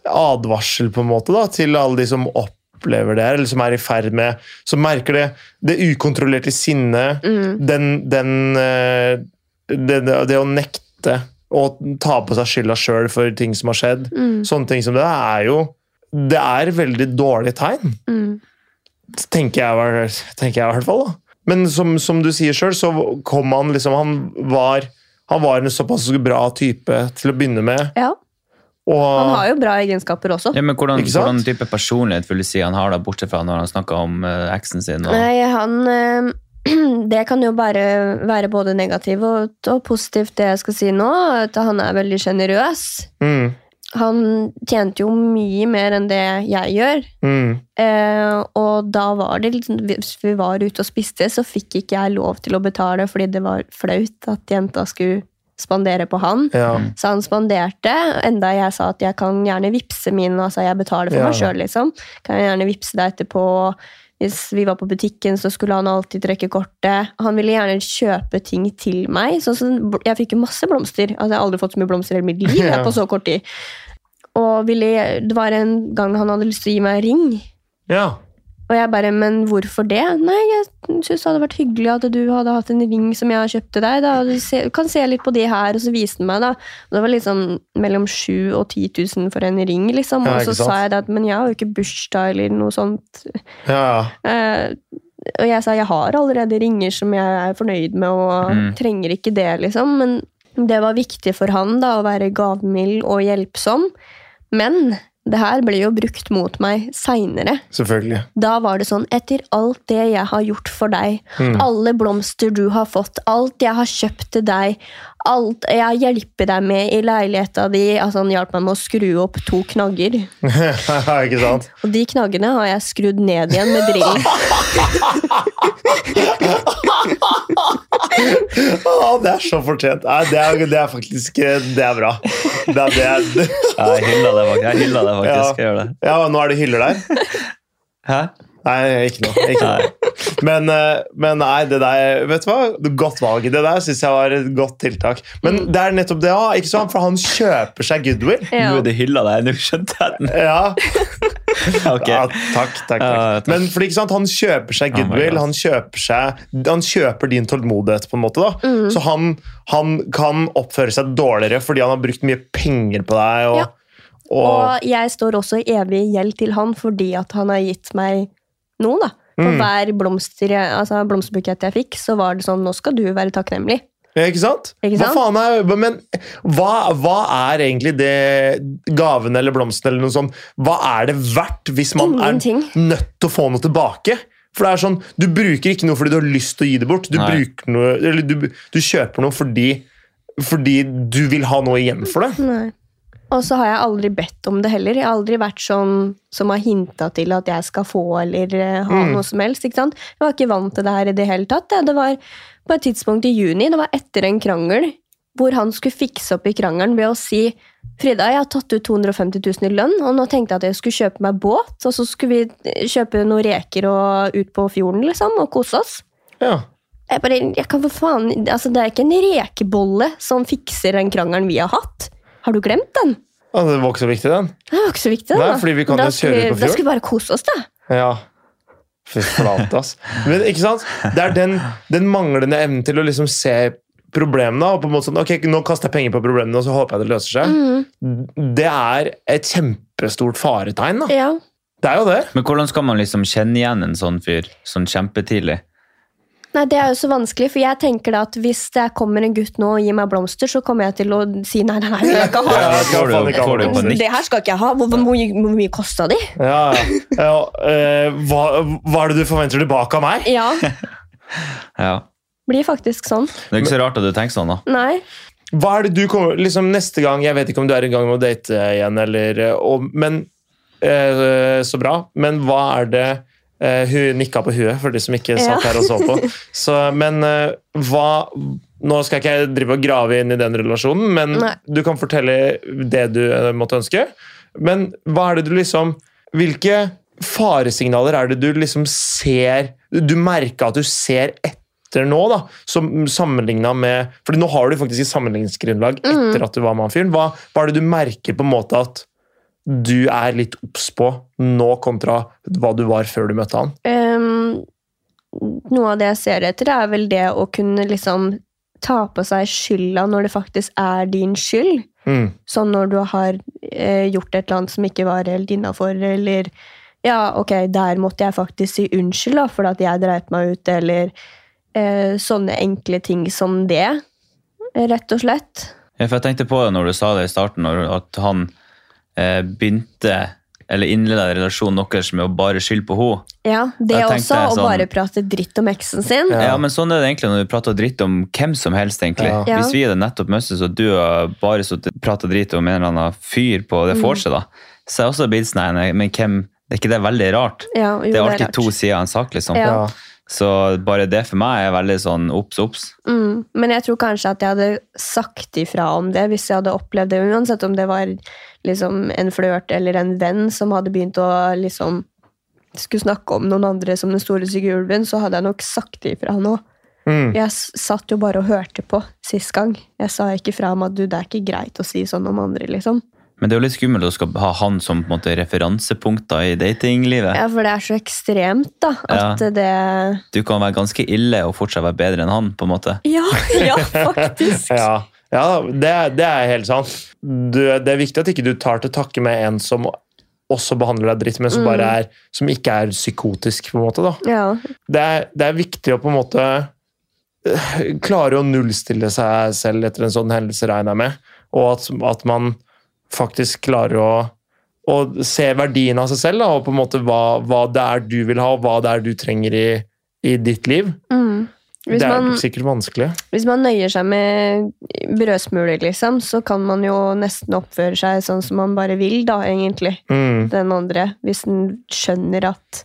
S2: advarsel på en måte da, til alle de som opplever det her, eller som er i ferd med, som merker det, det ukontrollerte sinnet,
S3: Mm.
S2: den, den, eh, det, det det å nekte å ta på seg skylda sjøl for ting som har skjedd,
S3: Mm.
S2: sånne ting som det er jo, det er veldig dårlige tegn
S3: Mm.
S2: tenker jeg, var- tenker jeg i hvert fall. da. Men som, som du sier sjøl, så kom han liksom Han var, han var en såpass bra type til å begynne med.
S3: Ja.
S2: Og
S3: Han har jo bra egenskaper også.
S1: Ja, men hvordan,
S2: Ikke sant?
S1: hvordan type personlighet vil du si han har, da, bortsett fra når han snakker om eh, eksen sin? Og,
S3: Nei, han eh, [CLEARS THROAT] Det kan jo bare være både negativt og, og positivt, det jeg skal si nå. At han er veldig sjenerøs.
S2: mm,
S3: Han tjente jo mye mer enn det jeg gjør.
S2: mm,
S3: Eh, og da var det liksom, Hvis vi var ute og spiste, så fikk ikke jeg lov til å betale fordi det var flaut at jenta skulle spandere på han.
S2: ja.
S3: Så han spanderte, enda jeg sa at jeg kan gjerne vippse min, altså jeg betaler for
S2: Ja.
S3: meg sjøl, liksom. Kan jeg gjerne vippse deg etterpå. Hvis vi var på butikken, så skulle han alltid trekke kortet. Han ville gjerne kjøpe ting til meg. Sånn som, jeg fikk jo masse blomster. Altså, jeg har aldri fått så mye blomster i hele mitt liv jeg,
S2: Ja.
S3: på så kort tid. Og ville, det var en gang han hadde lyst til å gi meg en ring.
S2: ja.
S3: Og jeg bare, men hvorfor det? Nei, jeg synes det hadde vært hyggelig at du hadde hatt en ring som jeg har kjøpt til deg. Da. og Du se- kan se litt på det her, og så viste den meg da. Og det var liksom mellom 7 og 10 000 for en ring, liksom.
S2: Ja,
S3: Og
S2: ikke
S3: så
S2: sant?
S3: sa jeg det at, men jeg har jo ikke bursdag eller noe sånt.
S2: ja.
S3: Eh, og jeg sa, jeg har allerede ringer som jeg er fornøyd med, og
S1: Mm.
S3: trenger ikke det, liksom. Men det var viktig for han da, å være gavmild og hjelpsom. Men det her ble jo brukt mot meg seinere.
S2: Selvfølgelig. [LAUGHS]
S3: Da var det sånn, etter alt det jeg har gjort for deg,
S2: Mm.
S3: alle blomster du har fått, alt jeg har kjøpt til deg, alt jeg hjelper deg med i leiligheta di Altså, han hjalp meg med å skru opp to knagger,
S2: Ikke sant?
S3: og de knaggene har jeg skrudd ned igjen med
S2: [LAUGHS]
S3: drillen.
S2: Å, det er så fortjent. Nei, det, er, det er faktisk eh, Det er bra. Det er, det er, [LAUGHS]
S1: Jeg hyller det faktisk. Jeg hyller det faktisk. Jeg gjør det.
S2: ja, nå er det hyller der.
S1: Hæ?
S2: Nei, ikke noe. Ikke noe. Men, eh, men nei, det der Vet du hva? Godt valg. Det der syns jeg var et godt tiltak. Men
S1: Mm.
S2: det er nettopp det òg, ikke sant? For han kjøper seg goodwill.
S1: Nå
S3: Ja.
S1: er det hylla deg. Nå skjønte jeg den.
S2: Ja,
S1: Ok.
S2: ja takk, takk, takk.
S1: Ja, takk.
S2: Men fordi, ikke sant, han kjøper seg
S1: Oh my
S2: goodwill,
S1: God.
S2: han, kjøper seg, han kjøper din tålmodighet, på en måte. da. Så han, han kan oppføre seg dårligere fordi han har brukt mye penger på deg. Og,
S3: Ja.
S2: og,
S3: Og jeg står også i evig gjeld til han fordi at han har gitt meg noe, da. For
S2: Mm.
S3: hver blomster jeg, altså blomsterbukett jeg fikk, så var det sånn Nå skal du være takknemlig.
S2: Ja, Ikke sant?
S3: Ikke sant?
S2: Hva faen er, men hva, hva er egentlig det gaven eller blomsten eller noe sånt, hva er det verdt hvis man
S3: Ingenting.
S2: er nødt til å få noe tilbake? For det er sånn, Du bruker ikke noe fordi du har lyst til å gi det bort. Du,
S1: Nei.
S2: bruker noe, eller du, du kjøper noe fordi, fordi du vil ha noe igjen for det.
S3: Nei. Og så har jeg aldri bedt om det heller. Jeg har aldri vært sånn som har hinta til at jeg skal få eller eh, ha
S2: Mm.
S3: noe som helst. ikke sant? Jeg var ikke vant til det her i det hele tatt. jeg. Det var på et tidspunkt i juni, det var etter en krangel, hvor han skulle fikse opp i krangelen ved å si Frida, jeg har tatt ut 250 000 i lønn, og nå tenkte jeg at jeg skulle kjøpe meg båt, og så skulle vi eh, kjøpe noen reker og ut på fjorden, liksom, og kose oss.
S2: Ja.
S3: Jeg bare, jeg kan for faen, altså Det er ikke en rekebolle som fikser den krangelen vi har hatt. Har du glemt den?
S2: Ja, Altså, det var ikke så viktig, den.
S3: Det var ikke så viktig.
S2: Nei,
S3: da.
S2: fordi vi kan
S3: da
S2: jo
S3: skulle
S2: kjøre ut
S3: vi-
S2: på
S3: Da
S2: fjorden.
S3: skulle vi bare kose oss, da.
S2: Ja. Fy flate, ass. Men ikke sant? Det er den, den manglende evnen til å liksom se problemene.
S3: Mm.
S2: og på en måte sånn, ok, Nå kaster jeg penger på problemene, og så håper jeg det løser seg. Det er et kjempestort faretegn. da.
S3: Ja.
S2: Det er jo det.
S1: Men hvordan skal man liksom kjenne igjen en sånn fyr sånn kjempetidlig?
S3: Nei, det er jo så vanskelig, for jeg tenker da at hvis det kommer en gutt nå og gir meg blomster, så kommer jeg til å si nei, nei, nei, det vil jeg ikke ha.
S2: Ja,
S1: Får
S2: faen
S1: du,
S2: ikke ha
S1: får du
S2: det.
S1: panikk?
S3: Det her skal ikke jeg ha. Hvor, hvor, mye- hvor mye kosta de?
S2: Ja, ja. ja eh, hva, hva er det du forventer tilbake av meg?
S3: Ja,
S1: Ja.
S3: blir faktisk sånn.
S1: Det er ikke så rart at du tenker sånn, da.
S3: Nei.
S2: Hva er det du kommer, liksom Neste gang Jeg vet ikke om du er i gang med å date igjen, eller eh, og, Men eh, Så bra. Men hva er det eh, Hun nikka på huet, for de som ikke
S3: Ja.
S2: satt her og så
S3: [LAUGHS]
S2: på. Så, men eh, hva Nå skal ikke jeg drive og grave inn i den relasjonen, men
S3: Nei.
S2: du kan fortelle det du eh, måtte ønske. Men hva er det du liksom Hvilke faresignaler er det du liksom ser Du merka at du ser etter nå, da, som sammenligna med Fordi nå har du faktisk et sammenligningsgrunnlag
S3: Mm.
S2: etter at du var med han fyren. Hva, hva er det du merker på en måte at du er litt obs på nå, kontra hva du var før du møtte han?
S3: Ehm, noe av det jeg ser etter, er vel det å kunne liksom ta på seg skylda når det faktisk er din skyld.
S2: Mm.
S3: Sånn når du har eh, gjort et eller annet som ikke var helt innafor, eller Ja, ok, der måtte jeg faktisk si unnskyld da, for at jeg dreit meg ut, eller eh, sånne enkle ting som det. Rett og slett.
S1: Ja, for jeg tenkte på det når du sa det i starten, når, at han eh, begynte eller innleda relasjonen deres med å bare skylde på henne.
S3: Ja, det
S1: Jeg tenkte
S3: også. Å
S1: sånn-
S3: bare prate dritt om eksen sin.
S2: Ja.
S1: Ja. men sånn er det egentlig når du prater dritt om hvem som helst, egentlig.
S2: Ja.
S3: Ja.
S1: Hvis vi hadde nettopp møttes, og du har bare sittet og prata dritt om en eller annen fyr på det vorset, da, så er jeg også blitt sånn nei, nei, men hvem Det er ikke det veldig rart?
S3: Ja, jo,
S1: det er alltid
S3: rart.
S1: to sider av en sak, liksom.
S3: Ja.
S1: Så bare det for meg er veldig sånn obs, obs.
S3: Mm, men jeg tror kanskje at jeg hadde sagt ifra om det hvis jeg hadde opplevd det. Uansett om det var liksom en flørt eller en venn som hadde begynt å liksom skulle snakke om noen andre som den store syke ulven, så hadde jeg nok sagt ifra nå.
S2: Mm.
S3: Jeg s- satt jo bare og hørte på sist gang. Jeg sa ikke fra om at du, det er ikke greit å si sånn om andre, liksom.
S1: Men det er jo litt skummelt å skal ha han som på en måte referansepunkter i datinglivet.
S3: Ja, for det er så ekstremt, da, at det
S1: Du kan være ganske ille og fortsatt være bedre enn han, på en måte.
S3: Ja, [LAUGHS] ja, faktisk.
S2: [LAUGHS] Ja, ja det, det er helt sant. Du, det er viktig at ikke du tar til takke med en som også behandler deg dritt, men som,
S3: Mm.
S2: bare er, som ikke er psykotisk, på en måte. da.
S3: Ja,
S2: Det er, det er viktig å på en måte øh, klare å nullstille seg selv etter en sånn hendelse, regner jeg med. Og at, at man faktisk klarer å, å se verdien av seg selv, da, og på en måte hva, hva det er du vil ha, og hva det er du trenger i, i ditt liv.
S3: mm. Hvis
S2: det er
S3: man-
S2: sikkert vanskelig.
S3: Hvis man nøyer seg med brødsmuler, liksom, så kan man jo nesten oppføre seg sånn som man bare vil, da, egentlig.
S2: Mm.
S3: Den andre. Hvis den skjønner at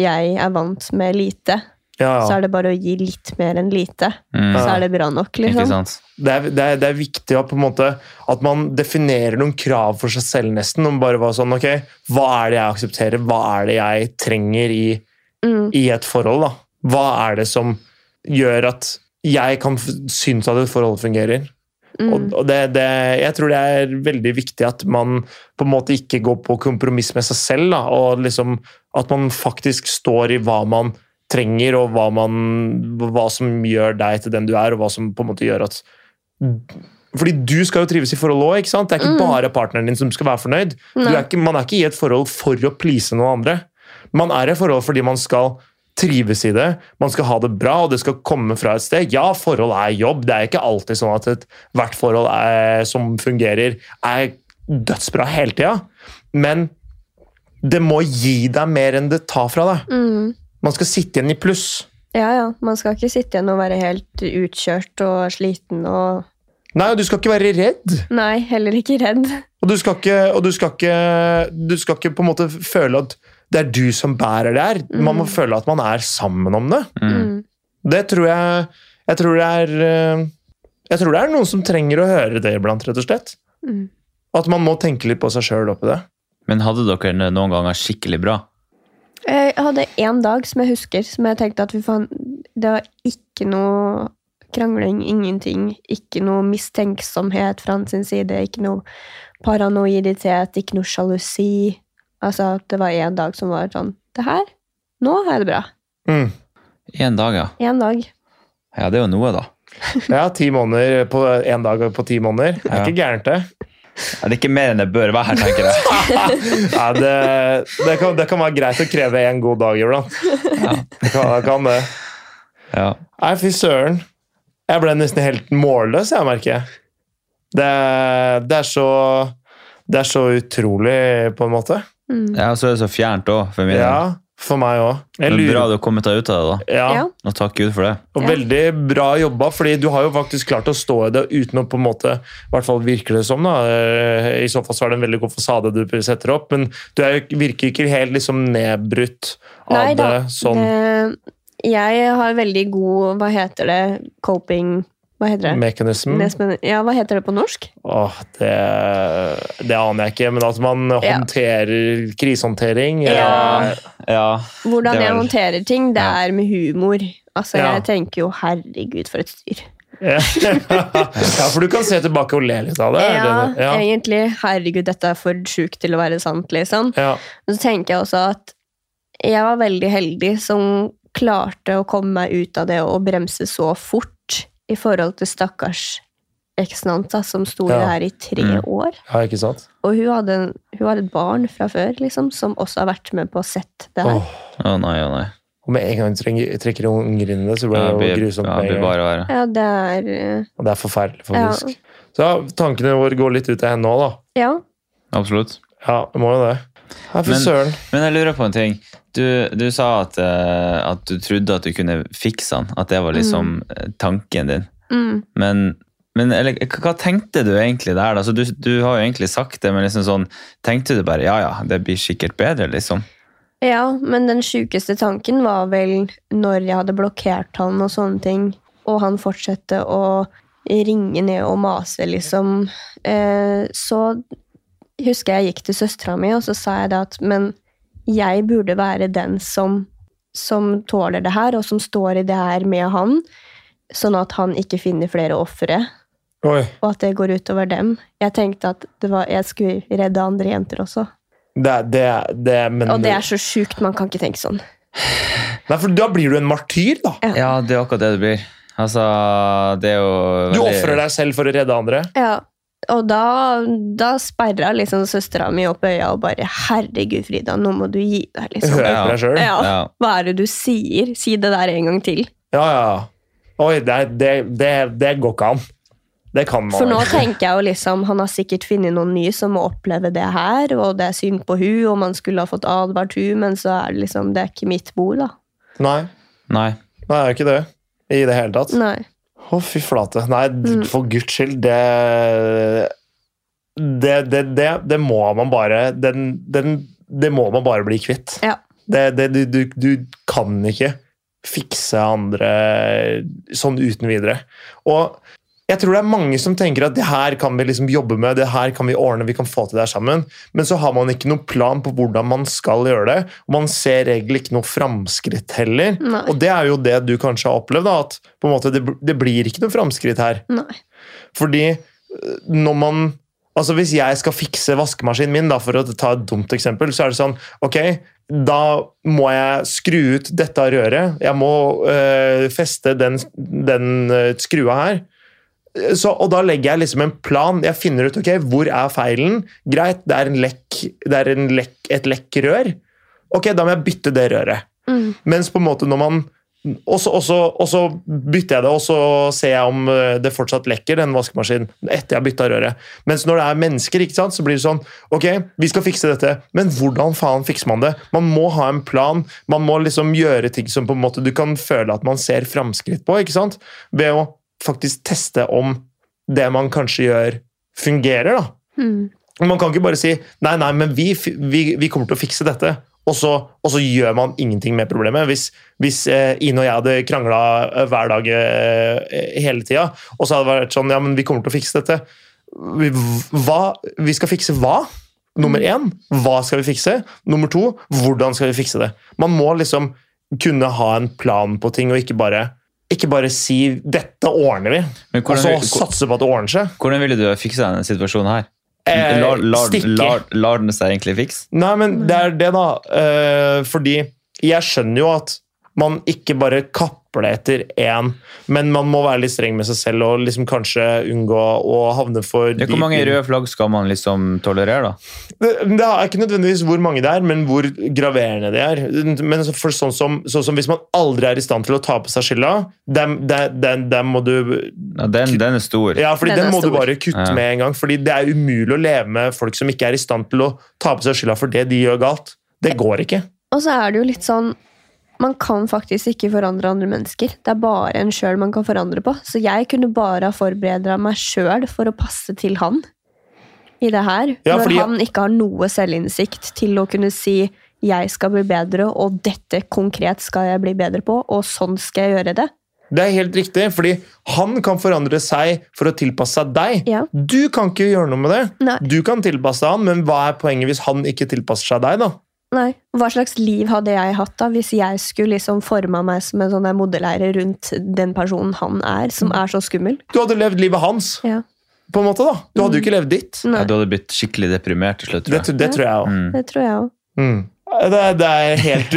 S3: jeg er vant med lite,
S2: Ja, ja.
S3: så er det bare å gi litt mer enn lite.
S1: Mm.
S3: Så er det bra nok,
S1: Ikke
S3: liksom.
S1: sant?
S2: det er, det, er, det er viktig å på en måte, at man definerer noen krav for seg selv nesten. Om bare hva sånn, ok, Hva er det jeg aksepterer? Hva er det jeg trenger i,
S3: Mm.
S2: i et forhold? da? Hva er det som gjør at jeg kan f- synes at et forhold fungerer? Og,
S3: Mm.
S2: og det, det, jeg tror det er veldig viktig at man på en måte ikke går på kompromiss med seg selv. Da, og liksom at man faktisk står i hva man trenger, og hva, man, hva som gjør deg til den du er, og hva som på en måte gjør at fordi du skal jo trives i forholdet òg. Det er ikke
S3: Mm.
S2: bare partneren din som skal være fornøyd. Du
S3: Nei.
S2: er ikke, man er ikke i et forhold for å please noen andre. Man er i et forhold fordi man skal trives i det, man skal ha det bra, og det skal komme fra et sted. Ja, forhold er jobb. Det er ikke alltid sånn at et, hvert forhold er, som fungerer, er dødsbra hele tida. Men det må gi deg mer enn det tar fra deg.
S3: Mm.
S2: Man skal sitte igjen i pluss.
S3: Ja, ja. Man skal ikke sitte igjen og være helt utkjørt og sliten og
S2: Nei, du skal ikke være redd.
S3: Nei, heller ikke redd.
S2: Og du skal ikke, og du skal ikke, du skal ikke på en måte føle at det er du som bærer det her. Man må føle at man er sammen om det.
S1: Mm.
S3: Mm.
S2: Det tror jeg Jeg tror det er eh, Jeg tror det er noen som trenger å høre det iblant, rett og slett.
S3: Mm.
S2: At man må tenke litt på seg sjøl oppi det.
S1: Men hadde dere noen ganger skikkelig bra?
S3: Eh, Jeg hadde én dag som jeg husker, som jeg tenkte at fy faen, det var ikke noe krangling, ingenting. Ikke noe mistenksomhet fra hans side, ikke noe paranoiditet, ikke noe sjalusi. Altså, at det var én dag som var sånn Det her, nå har jeg det bra.
S2: Mm.
S1: Én dag, ja.
S3: Én dag.
S1: Ja, det er jo noe, da.
S2: Ja, ti måneder på én dag på ti måneder. Det er
S1: Ja.
S2: ikke gærent, det.
S1: Ja, det er ikke mer enn det bør være her, tenker jeg.
S2: Nei, det, det, kan, det kan være greit å kreve en god dag iblant. Det kan, det kan det.
S1: Ja.
S2: Nei, fy søren. Jeg ble nesten helt målløs, jeg merker jeg. Det, det, er så, det er så utrolig, på en måte.
S3: Mm.
S1: ja, så er det så fjernt òg, for min del.
S2: Ja, for meg òg. Jeg
S1: Men bra
S2: lurer
S1: du har kommet deg ut av det, da.
S2: ja,
S3: Ja.
S1: Og takk Gud for det.
S2: og
S3: Ja.
S2: Veldig bra jobba, fordi du har jo faktisk klart å stå i det uten å på en måte I hvert fall virker det som, da. Eh, I så fall så er det en veldig god fasade du setter opp, men du er, jo- virker ikke helt liksom nedbrutt av
S3: Nei
S2: det
S3: da,
S2: sånn
S3: Det, jeg har veldig god Hva heter det? Coping Hva heter det?
S2: mekanism.
S3: Nesmen- Ja, hva heter det på norsk?
S2: Åh, det, det aner jeg ikke, men at man
S3: Ja.
S2: håndterer krisehåndtering
S3: Ja.
S2: [LAUGHS] eh,
S1: Ja.
S3: Hvordan
S1: Det
S3: jeg
S1: var-
S3: håndterer ting, det
S1: Ja.
S3: er med humor. Altså,
S2: Ja.
S3: Jeg tenker jo 'herregud, for et styr'.
S2: ja. for du kan se tilbake og le litt av det. er
S3: Ja,
S2: det- ja.
S3: egentlig. 'Herregud, dette er for sjukt til å være sant', liksom.
S2: ja.
S3: Men så tenker jeg også at jeg var veldig heldig som klarte å komme meg ut av det og bremse så fort i forhold til stakkars eksen hans, da, som sto i
S2: Ja.
S3: det her i tre
S1: Mm.
S3: år.
S2: ja, ikke sant?
S3: Og hun, hadde en, hun har et barn fra før liksom, som også har vært med på å sett det her.
S2: Åh,
S1: Å nei, å nei.
S2: og med en gang du trenger, trekker ungene inn i det, så blir
S1: Ja,
S2: det
S1: det
S2: jo
S1: blir,
S2: grusomt.
S1: ja,
S2: med
S1: det blir
S2: en gang.
S1: bare verre.
S3: Ja, det er eh,
S2: Og det er forferdelig,
S3: Ja.
S2: faktisk. Så ja, tankene våre går litt ut av henne òg, da.
S3: Ja.
S1: Absolutt.
S2: Ja, det må jo det. Ja, fy
S1: Men-
S2: søren.
S1: Men jeg lurer på en ting. Du, du sa at, eh, at du trodde at du kunne fikse han. At det var liksom eh, tanken din.
S3: Mm.
S1: Men, men eller, hva hva tenkte du egentlig der? da? Altså, du, du har jo egentlig sagt det, men liksom sånn, tenkte du bare ja, ja, det blir sikkert bedre, liksom?
S3: ja, men den sjukeste tanken var vel når jeg hadde blokkert han og sånne ting, og han fortsatte å ringe ned og mase, liksom. Eh, så husker jeg gikk til søstera mi, og så sa jeg det at men jeg burde være den som, som tåler det her, og som står i det her med han, sånn at han ikke finner flere ofre.
S2: Oi.
S3: og at det går utover dem. Jeg tenkte at det var, jeg skulle redde andre jenter også.
S2: Det, er- det, er- det, er- men,
S3: Og det er så sjukt, man kan ikke tenke sånn.
S2: Nei, for da blir du en martyr, da.
S3: Ja.
S1: Ja, det er akkurat det det blir. Altså, det er jo
S2: Du ofrer deg selv for å redde andre.
S3: Ja. Og da, da sperra liksom søstera mi opp øya og bare 'Herregud, Frida, nå må du gi deg', liksom.
S2: Hører på deg sjøl.
S3: Ja.
S1: Ja.
S3: Hva er det du sier? Si det der en gang til.
S2: Ja, ja. Oi, det, det, det, det går ikke an. Det kan man
S3: For nå
S2: ikke.
S3: tenker jeg jo liksom Han har sikkert funnet noen nye som må oppleve det her, og det er synd på hun, og man skulle ha fått advart hun, men så er det liksom Det er ikke mitt bord, da.
S2: Nei,
S1: Nei.
S2: nei, det er ikke det. I det hele tatt. Å,
S3: Nei.
S2: fy flate. Nei, d-
S3: Mm.
S2: for guds skyld, det Det, det, det, det må man bare den, den, Det må man bare bli kvitt.
S3: Ja.
S2: Det, det, du, du, du kan ikke fikse andre sånn uten videre. Og jeg tror det er mange som tenker at det her kan vi liksom jobbe med, det her kan vi ordne, vi kan få til det her sammen. Men så har man ikke noen plan på hvordan man skal gjøre det. Og man ser egentlig ikke noe framskritt heller.
S3: Nei.
S2: Og det er jo det du kanskje har opplevd, da, at på en måte det, det blir ikke noe framskritt her.
S3: Nei.
S2: Fordi øh, når man Altså Hvis jeg skal fikse vaskemaskinen min, da, for å ta et dumt eksempel, så er det sånn Ok, da må jeg skru ut dette røret. Jeg må øh, feste den, den øh, skrua her. Så, og da legger jeg liksom en plan. Jeg finner ut ok, hvor er feilen. Greit, det er, en lekk, det er en lekk, et lekk rør. Ok, da må jeg bytte det røret.
S3: Mm.
S2: Mens på en måte når man og så, og, så, og så bytter jeg det, og så ser jeg om eh, det fortsatt lekker den vaskemaskinen etter jeg har bytta røret. Mens når det er mennesker, ikke sant, så blir det sånn Ok, vi skal fikse dette, men hvordan faen fikser man det? Man må ha en plan. Man må liksom gjøre ting som på en måte du kan føle at man ser framskritt på. ikke sant? Ved å faktisk teste om det man kanskje gjør, fungerer. da.
S3: Mm.
S2: Man kan ikke bare si nei, nei, men vi, fi- vi, vi kommer til å fikse dette. Og så, og så gjør man ingenting med problemet. Hvis, hvis eh, Ine og jeg hadde krangla eh, hver dag eh, hele tida, og så hadde det vært sånn ja, men vi kommer til å fikse dette. Vi- Hva? Vi skal fikse hva? Nummer én, hva skal vi fikse? Nummer to, hvordan skal vi fikse det? Man må liksom kunne ha en plan på ting, og ikke bare, ikke bare si 'dette ordner vi',
S1: Men
S2: og så
S1: hvordan, vil-
S2: satse på at det ordner seg.
S1: hvordan ville du ha fiksa denne situasjonen her?
S2: Eh,
S1: Lar, lar,
S2: stikke.
S1: lar, lar den seg egentlig fikse?
S2: Nei, men det er det, da. Eh, fordi jeg skjønner jo at man ikke bare kapper stopper det etter én. Men man må være litt streng med seg selv og liksom kanskje unngå å havne for
S1: Ja,
S2: dypt
S1: hvor mange
S2: inn.
S1: røde flagg skal man liksom tolerere, da?
S2: Det, det er ikke nødvendigvis hvor mange det er, men hvor graverende det er. Men så- for sånn som, sånn som Hvis man aldri er i stand til å ta på seg skylda, dem, dem, dem, dem må du
S1: Ja, den, den er stor.
S2: Ja, fordi
S3: Den
S2: den,
S3: er
S2: må du
S3: stor.
S2: bare kutte
S1: Ja.
S2: med en gang. Fordi det er umulig å leve med folk som ikke er i stand til å ta på seg skylda for det de gjør galt. Det går ikke.
S3: Og så er det jo litt sånn Man kan faktisk ikke forandre andre mennesker. Det er bare en sjøl man kan forandre på. Så jeg kunne bare ha forberedt meg sjøl for å passe til han i det her.
S2: Ja,
S3: når
S2: fordi-
S3: han ikke har noe selvinnsikt til å kunne si 'jeg skal bli bedre', og 'dette konkret skal jeg bli bedre på', og 'sånn skal jeg gjøre det'.
S2: Det er helt riktig, fordi han kan forandre seg for å tilpasse seg deg.
S3: Ja.
S2: Du kan ikke gjøre noe med det.
S3: Nei.
S2: Du kan tilpasse deg han, men hva er poenget hvis han ikke tilpasser seg deg, da?
S3: Nei. Hva slags liv hadde jeg hatt da hvis jeg skulle liksom forma meg som en sånn der modelleier rundt den personen han er, som er så skummel?
S2: Du hadde levd livet hans,
S3: Mm. Ja.
S2: på en måte, da. Du hadde jo ikke levd ditt.
S1: Ja,
S3: Nei,
S1: du hadde blitt skikkelig deprimert til slutt, tror
S2: Det,
S1: jeg.
S2: tr- det tror jeg òg.
S1: Mm.
S3: det tror jeg òg.
S2: Mm. Det, det er helt,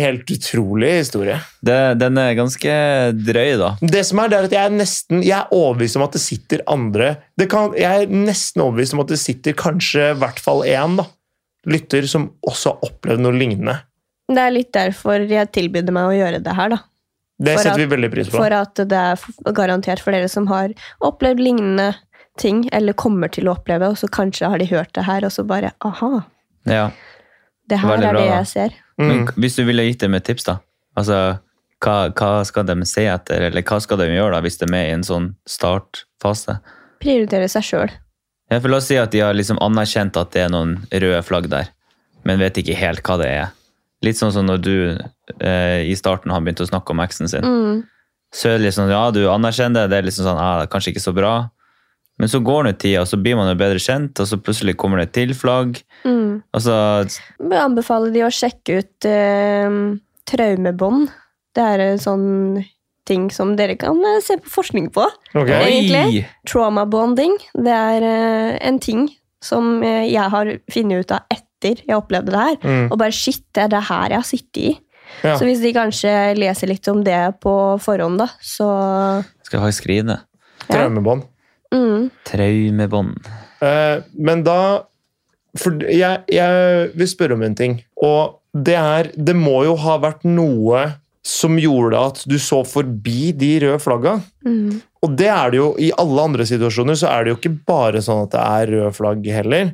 S2: helt utrolig historie.
S1: Det, den er ganske drøy, da.
S2: Det som er, det er at jeg er nesten jeg er overbevist om at det sitter andre det kan, Jeg er nesten overbevist om at det sitter kanskje i hvert fall én da, lytter som også har opplevd noe lignende.
S3: Det er litt derfor jeg tilbyr meg å gjøre det her, da.
S2: Det
S3: For
S2: setter
S3: at-
S2: vi veldig pris på.
S3: For at det er f- garantert for dere som har opplevd lignende ting, eller kommer til å oppleve, og så kanskje har de hørt det her, og så bare aha,
S1: Ja.
S3: det her
S1: Veldig
S3: er
S1: bra,
S3: det
S1: da.
S3: jeg ser.
S1: Men
S2: Mm.
S1: k- hvis du ville gitt dem et tips, da? Altså, hva, hva skal de se etter, eller hva skal de gjøre da, hvis de er med i en sånn startfase?
S3: Prioritere seg sjøl.
S1: Ja, for la oss si at de har liksom anerkjent at det er noen røde flagg der, men vet ikke helt hva det er. Litt sånn som når du eh, i starten har begynt å snakke om eksen sin.
S3: Mm.
S1: Så er det liksom, ja, du anerkjenner det, det er liksom sånn, ah, det er kanskje ikke så bra. Men så går det tida, og så blir man jo bedre kjent, og så plutselig kommer det et til flagg.
S3: Mm.
S1: Altså,
S3: Jeg anbefaler de å sjekke ut eh, traumebånd. Det er en sånn ting som dere kan eh, se på forskning på.
S2: Ok.
S3: Oi.
S1: oi!
S3: Egentlig? Trauma bonding, det er eh, en ting som eh, jeg har funnet ut av etter jeg opplevde det her.
S2: Mm.
S3: [LAUGHS] Og bare shit, det er det her jeg har sittet i.
S2: Ja.
S3: Så hvis de kanskje leser litt om det på forhånd, da, så
S1: Skal jeg faktisk skrive det?
S2: Traumebånd.
S3: mm,
S1: Traumebånd.
S2: Eh, men da For jeg, jeg vil spørre om en ting. Og det er Det må jo ha vært noe som gjorde at du så forbi de røde flagga.
S3: mm,
S2: Og det er det jo, i alle andre situasjoner så er det jo ikke bare sånn at det er røde flagg heller.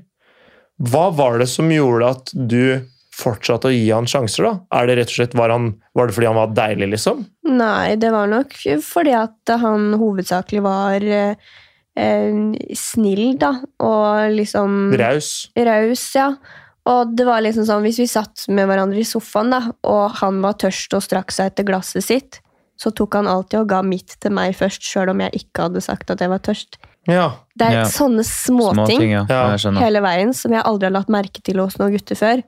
S2: Hva var det som gjorde at du fortsatte å gi han sjanser, da? Er det rett og slett, Var, han, var det fordi han var deilig, liksom?
S3: Nei, det var nok fordi at han hovedsakelig var eh, eh, snill, da, og liksom
S2: Raus?
S3: raus, ja. Og det var liksom sånn, hvis vi satt med hverandre i sofaen, da, og han var tørst og strakk seg etter glasset sitt, så tok han alltid og ga mitt til meg først, sjøl om jeg ikke hadde sagt at jeg var tørst.
S2: Ja.
S3: Det er
S1: Ja.
S3: sånne
S1: Småting,
S3: småting
S1: ja.
S2: Ja.
S1: Jeg skjønner.
S3: hele veien som jeg aldri har lagt merke til hos noen gutter før.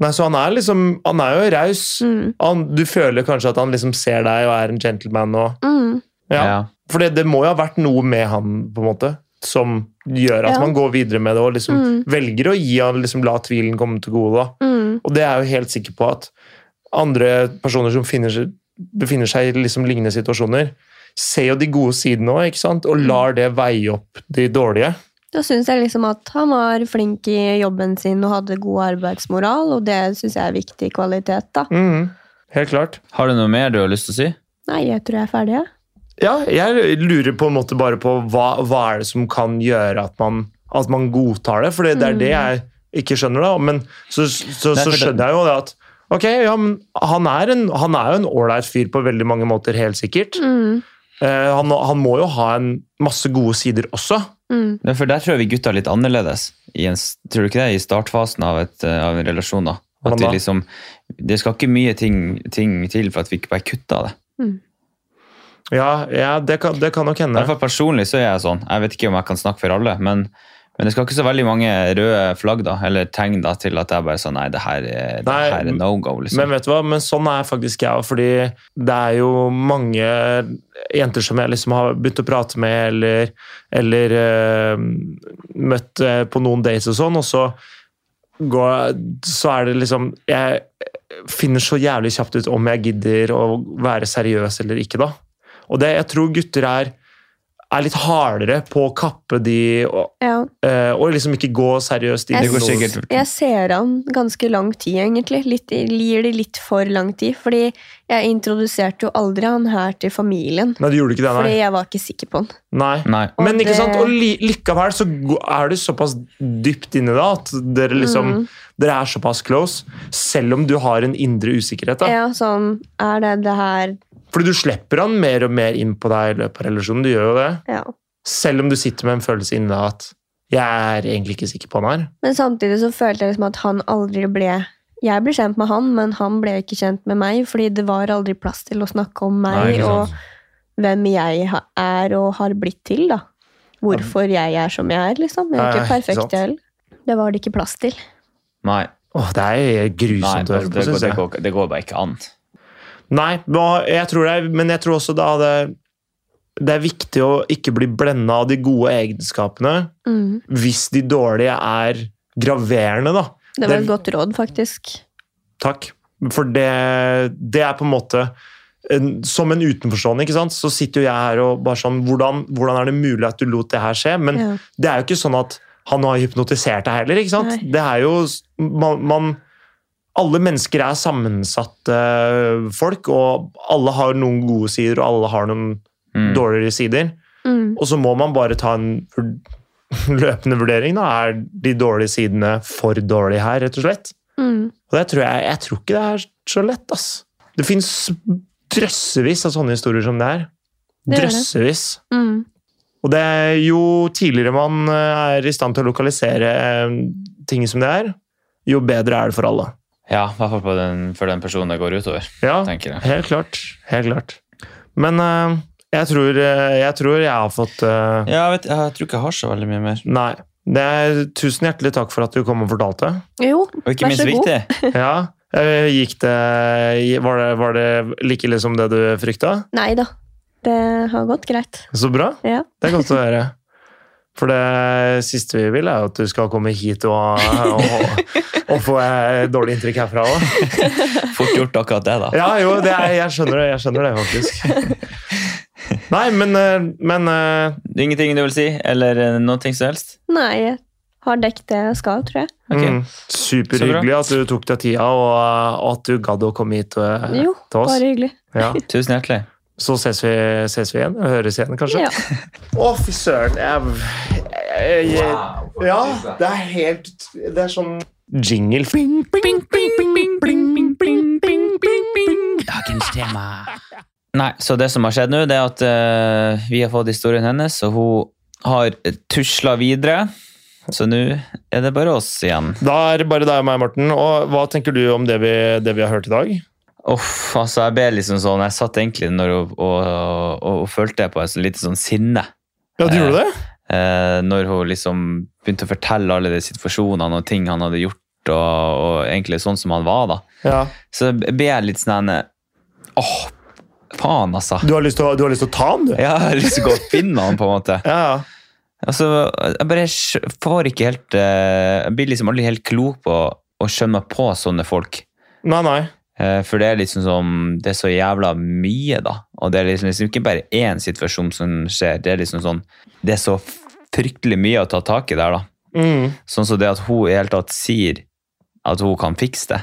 S2: Nei, så han er liksom Han er jo raus.
S3: Mm.
S2: Han, du føler kanskje at han liksom ser deg og er en gentleman og
S3: Mm.
S2: ja.
S1: Ja.
S2: For det, det må jo ha vært noe med han, på en måte, som gjør at
S3: Ja.
S2: man går videre med det og liksom
S3: Mm.
S2: velger å gi han, liksom la tvilen komme til gode, da.
S3: Mm.
S2: Og det er jeg jo helt sikker på at andre personer som finner, seg- befinner seg i liksom lignende situasjoner, ser jo de gode sidene òg, ikke sant?
S3: Mm.
S2: Og lar det veie opp de dårlige.
S3: Da syns jeg liksom at han var flink i jobben sin og hadde god arbeidsmoral, og det syns jeg er viktig kvalitet, da.
S2: Mhm. Helt klart.
S1: Har du noe mer du har lyst til å si?
S3: Nei, jeg tror jeg er ferdig, jeg.
S2: Ja, jeg lurer på en måte bare på hva, hva er det som kan gjøre at man, at man godtar det, for det, det er det jeg ikke skjønner, da. Men så, så, så,
S1: Mm. Nei, for det-
S2: skjønner jeg jo det at Ok, ja, men han er, en, han er jo en ålreit fyr på veldig mange måter, helt sikkert.
S3: Mm.
S2: Eh, han, han må jo ha en masse gode sider også.
S3: Mm.
S1: Ja, for der tror jeg vi gutta er litt annerledes. I en, tror du ikke det? I startfasen av, et, eh, av en relasjon. da. At
S2: Hvordan
S1: vi
S2: da?
S1: liksom, det skal ikke mye ting, ting til for at vi ikke bare kutter det.
S2: Ja, ja det, kan, det kan nok
S1: I
S2: hende.
S1: hvert fall personlig så er jeg sånn. Jeg vet ikke om jeg kan snakke for alle, men, men det skal ikke så veldig mange røde flagg da, eller tegn da, til at jeg bare sånn, nei, det her er, det
S2: Nei,
S1: her er no go. liksom.
S2: Men vet du hva, men sånn er faktisk jeg òg, fordi det er jo mange jenter som jeg liksom har begynt å prate med, eller, eller eh, møtt eh, på noen dates og sånn, og så går, så er det liksom jeg, finner så jævlig kjapt ut om jeg gidder å være seriøs eller ikke, da. Og det, jeg tror gutter er, er litt hardere på å kappe de og,
S3: Ja.
S2: eh, og liksom ikke gå seriøst inn
S3: Jeg
S1: Det går
S3: synes-
S2: noe-
S1: sikkert
S3: Jeg ser an ganske lang tid, egentlig. Litt, gir det litt for lang tid. Fordi jeg introduserte jo aldri han her til familien.
S2: Nei, du gjorde ikke det,
S3: Fordi
S2: nei.
S3: jeg var ikke sikker på han.
S2: nei.
S1: Nei.
S3: Og
S2: Men ikke
S3: det-
S2: sant, og li likevel så go- er du såpass dypt inne da, at dere liksom,
S3: Mm.
S2: dere er såpass close, selv om du har en indre usikkerhet da.
S3: Ja, sånn Er det det her
S2: Fordi du slipper han mer og mer inn på deg i løpet av relasjonen, du gjør jo det.
S3: Ja.
S2: Selv om du sitter med en følelse inne deg at jeg er egentlig ikke sikker på han her.
S3: Men samtidig så følte jeg liksom at han aldri ble Jeg ble kjent med han, men han ble ikke kjent med meg, fordi det var aldri plass til å snakke om
S1: Nei,
S3: meg
S1: ikke
S3: og
S1: sant.
S3: hvem jeg ha- er og har blitt til, da. Hvorfor jeg er som jeg er, liksom. Jeg er
S2: Nei,
S3: ikke
S2: ikke sant.
S3: perfekt, jeg heller. Det var det ikke plass til.
S1: Nei,
S2: Åh, det er
S1: nei
S2: grusomt
S1: altså,
S2: å høre
S1: det,
S2: på,
S1: går,
S2: synes
S1: det,
S2: jeg.
S1: går, det går bare ikke an.
S2: Nei, nå- jeg tror det, er- men jeg tror også da det, det er viktig å ikke bli blenda av de gode egenskapene
S3: Mm.
S2: hvis de dårlige er graverende, da.
S3: Det var
S2: Det-
S3: et godt råd, faktisk.
S2: Takk. For det, det er på en måte en, Som en utenforstående, ikke sant? så sitter jo jeg her og bare sånn Hvordan, hvordan er det mulig at du lot det her skje? Men
S3: Ja.
S2: det er jo ikke sånn at han har hypnotisert deg heller, ikke sant?
S3: Nei.
S2: Det er jo man, man Alle mennesker er sammensatte folk, og alle har noen gode sider, og alle har noen
S1: Mm.
S2: dårligere sider.
S3: Mm.
S2: Og så må man bare ta en vur- [LAUGHS] løpende vurdering, da. Er de dårlige sidene for dårlige her, rett og slett?
S3: Mm.
S2: Og det tror jeg, jeg tror ikke det er så lett, ass. Det finnes drøssevis av sånne historier som det her.
S3: Det gjør det.
S2: Drøssevis.
S3: Mm.
S2: Og det er jo tidligere man eh, er i stand til å lokalisere eh, ting som det er, jo bedre er det for alle.
S1: Ja, i hvert fall på den- for den personen det går utover,
S2: Ja,
S1: tenker jeg.
S2: helt klart. Helt klart. Men eh, jeg, tror, eh, jeg tror jeg har fått eh,
S1: Ja, jeg, vet, jeg tror ikke jeg har så veldig mye mer.
S2: Nei. Det er tusen hjertelig takk for at du kom og fortalte.
S3: [LAUGHS] Jo,
S1: Og ikke
S3: Vær
S1: minst
S3: så god.
S1: viktig.
S2: Ja. eh, Gikk det Var det, var det like ille som det du frykta?
S3: nei da. Det har gått greit.
S2: Så bra.
S3: Ja.
S2: Det er godt å høre. For det siste vi vil, er jo at du skal komme hit og, og, og få eh, dårlig inntrykk herfra òg.
S1: Fort gjort akkurat det, da.
S2: Ja, jo, det er, jeg skjønner det. Jeg skjønner det faktisk. Nei, men, eh, men eh,
S1: Ingenting du vil si, eller eh, noe som helst?
S3: Nei, jeg har dekket det jeg skal, tror jeg.
S1: Ok.
S2: mm, Superhyggelig at du tok deg tida, og, eh, og at du gadd å komme hit eh,
S3: Jo,
S2: til
S3: bare
S2: oss.
S3: hyggelig.
S2: Ja.
S1: Tusen hjertelig.
S2: Så ses vi, ses vi igjen. Høres igjen, kanskje.
S3: Ja.
S2: Å, fy søren. Jeg, jeg, jeg, ja, det er helt Det er sånn jingle.
S4: Dagens tema.
S1: Nei, så det som har skjedd nå, det er at eh, vi har fått historien hennes, og hun har tusla videre. Så nå er det bare oss igjen.
S2: Da er det bare deg og meg, Morten. Og hva tenker du om det vi, det vi har hørt i dag?
S1: Uff, altså jeg ble liksom sånn Jeg satt egentlig når hun, og, og, og følte på et så lite sånn sinne.
S2: Ja, du
S1: Eh,
S2: gjorde det?
S1: Eh, når hun liksom begynte å fortelle alle de situasjonene og ting han hadde gjort, og, og egentlig sånn som han var, da.
S2: Ja.
S1: Så ble jeg litt sånn eh, Åh, faen, altså.
S2: Du har lyst til å, du har lyst til å ta den, du?
S1: Jeg har lyst til å gå og finne han, på en måte.
S2: Ja, ja.
S1: Altså, jeg bare skj- får ikke helt eh, Jeg blir liksom aldri helt klok på å skjønne meg på sånne folk.
S2: Nei, nei.
S1: Eh, For det er liksom som Det er så jævla mye, da. Og det er liksom, liksom ikke bare én situasjon som skjer. Det er liksom sånn Det er så fryktelig mye å ta tak i der, da.
S2: Mm.
S1: Sånn som det at hun i det hele tatt sier at hun kan fikse det.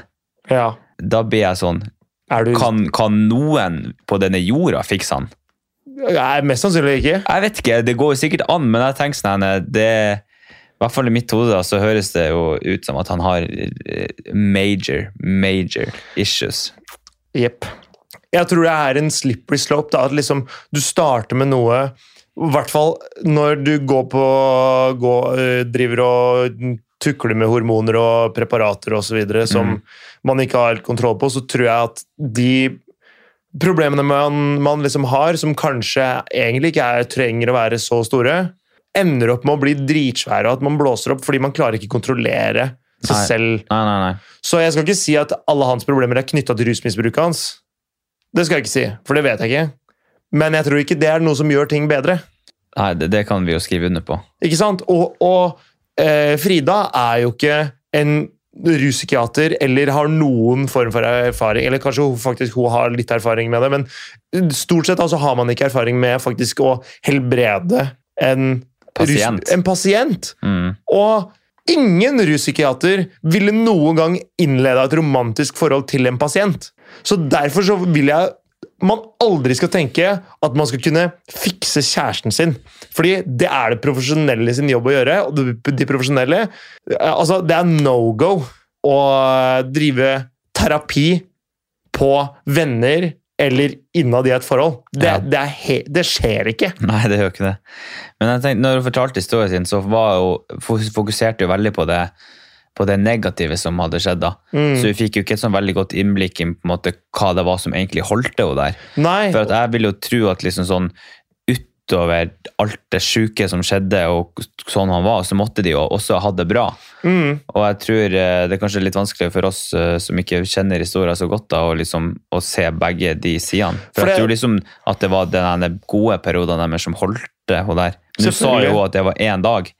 S2: Ja.
S1: Da blir jeg sånn
S2: Er du
S1: Kan, kan noen på denne jorda fikse han?
S2: Nei, Mest sannsynlig ikke.
S1: Jeg vet ikke, det går jo sikkert an, men jeg tenker sånn her, det, I hvert fall i mitt hode da, så høres det jo ut som at han har eh, major, major issues.
S2: Jepp. Jeg tror det er en slippery slope. da, at liksom Du starter med noe I hvert fall når du går på går, øh, Driver og tukler med hormoner og preparater osv. som
S1: Mm.
S2: man ikke har helt kontroll på, så tror jeg at de problemene man, man liksom har, som kanskje egentlig ikke er, trenger å være så store, ender opp med å bli dritsvære, og at man blåser opp fordi man klarer ikke å kontrollere seg
S1: Nei.
S2: selv.
S1: Nei, nei, nei.
S2: Så jeg skal ikke si at alle hans problemer er knytta til rusmisbruket hans. Det skal jeg ikke si, for det vet jeg ikke. Men jeg tror ikke det er noe som gjør ting bedre.
S1: nei det, det kan vi jo skrive under på.
S2: Ikke sant? Og, og eh, Frida er jo ikke en ruspsykiater eller har noen form for erfaring, eller kanskje hun faktisk hun har litt erfaring med det, men stort sett altså har man ikke erfaring med faktisk å helbrede en
S1: Pasient.
S2: Rus, en pasient.
S1: Mm.
S2: Og ingen ruspsykiater ville noen gang innleda et romantisk forhold til en pasient. Så derfor så vil jeg man aldri skal tenke at man skal kunne fikse kjæresten sin. Fordi det er det profesjonelle sin jobb å gjøre, og de- de profesjonelle eh, Altså, det er no go å drive terapi på venner eller innad i et forhold. Det,
S1: Ja.
S2: det, er he det skjer ikke.
S1: Nei, det gjør jo ikke det. Men jeg tenkte, når hun fortalte historien sin, så var jo, fok- fokuserte hun veldig på det, på det negative som hadde skjedd. da.
S2: Mm.
S1: Så hun fikk jo ikke et sånn veldig godt innblikk i på en måte, hva det var som egentlig holdt henne der.
S2: Nei.
S1: For at jeg vil jo tro at liksom sånn utover alt det sjuke som skjedde, og sånn han var, så måtte de jo også ha det bra.
S2: Mm.
S1: Og jeg tror eh, det er kanskje litt vanskelig for oss eh, som ikke kjenner historien så godt, da, å, liksom, å se begge de sidene. For,
S2: For det-
S1: jeg tror liksom at det var den ene gode perioden deres som holdt det hun der. Men Du sa
S2: Selvfølgelig.
S1: jo at det var én dag,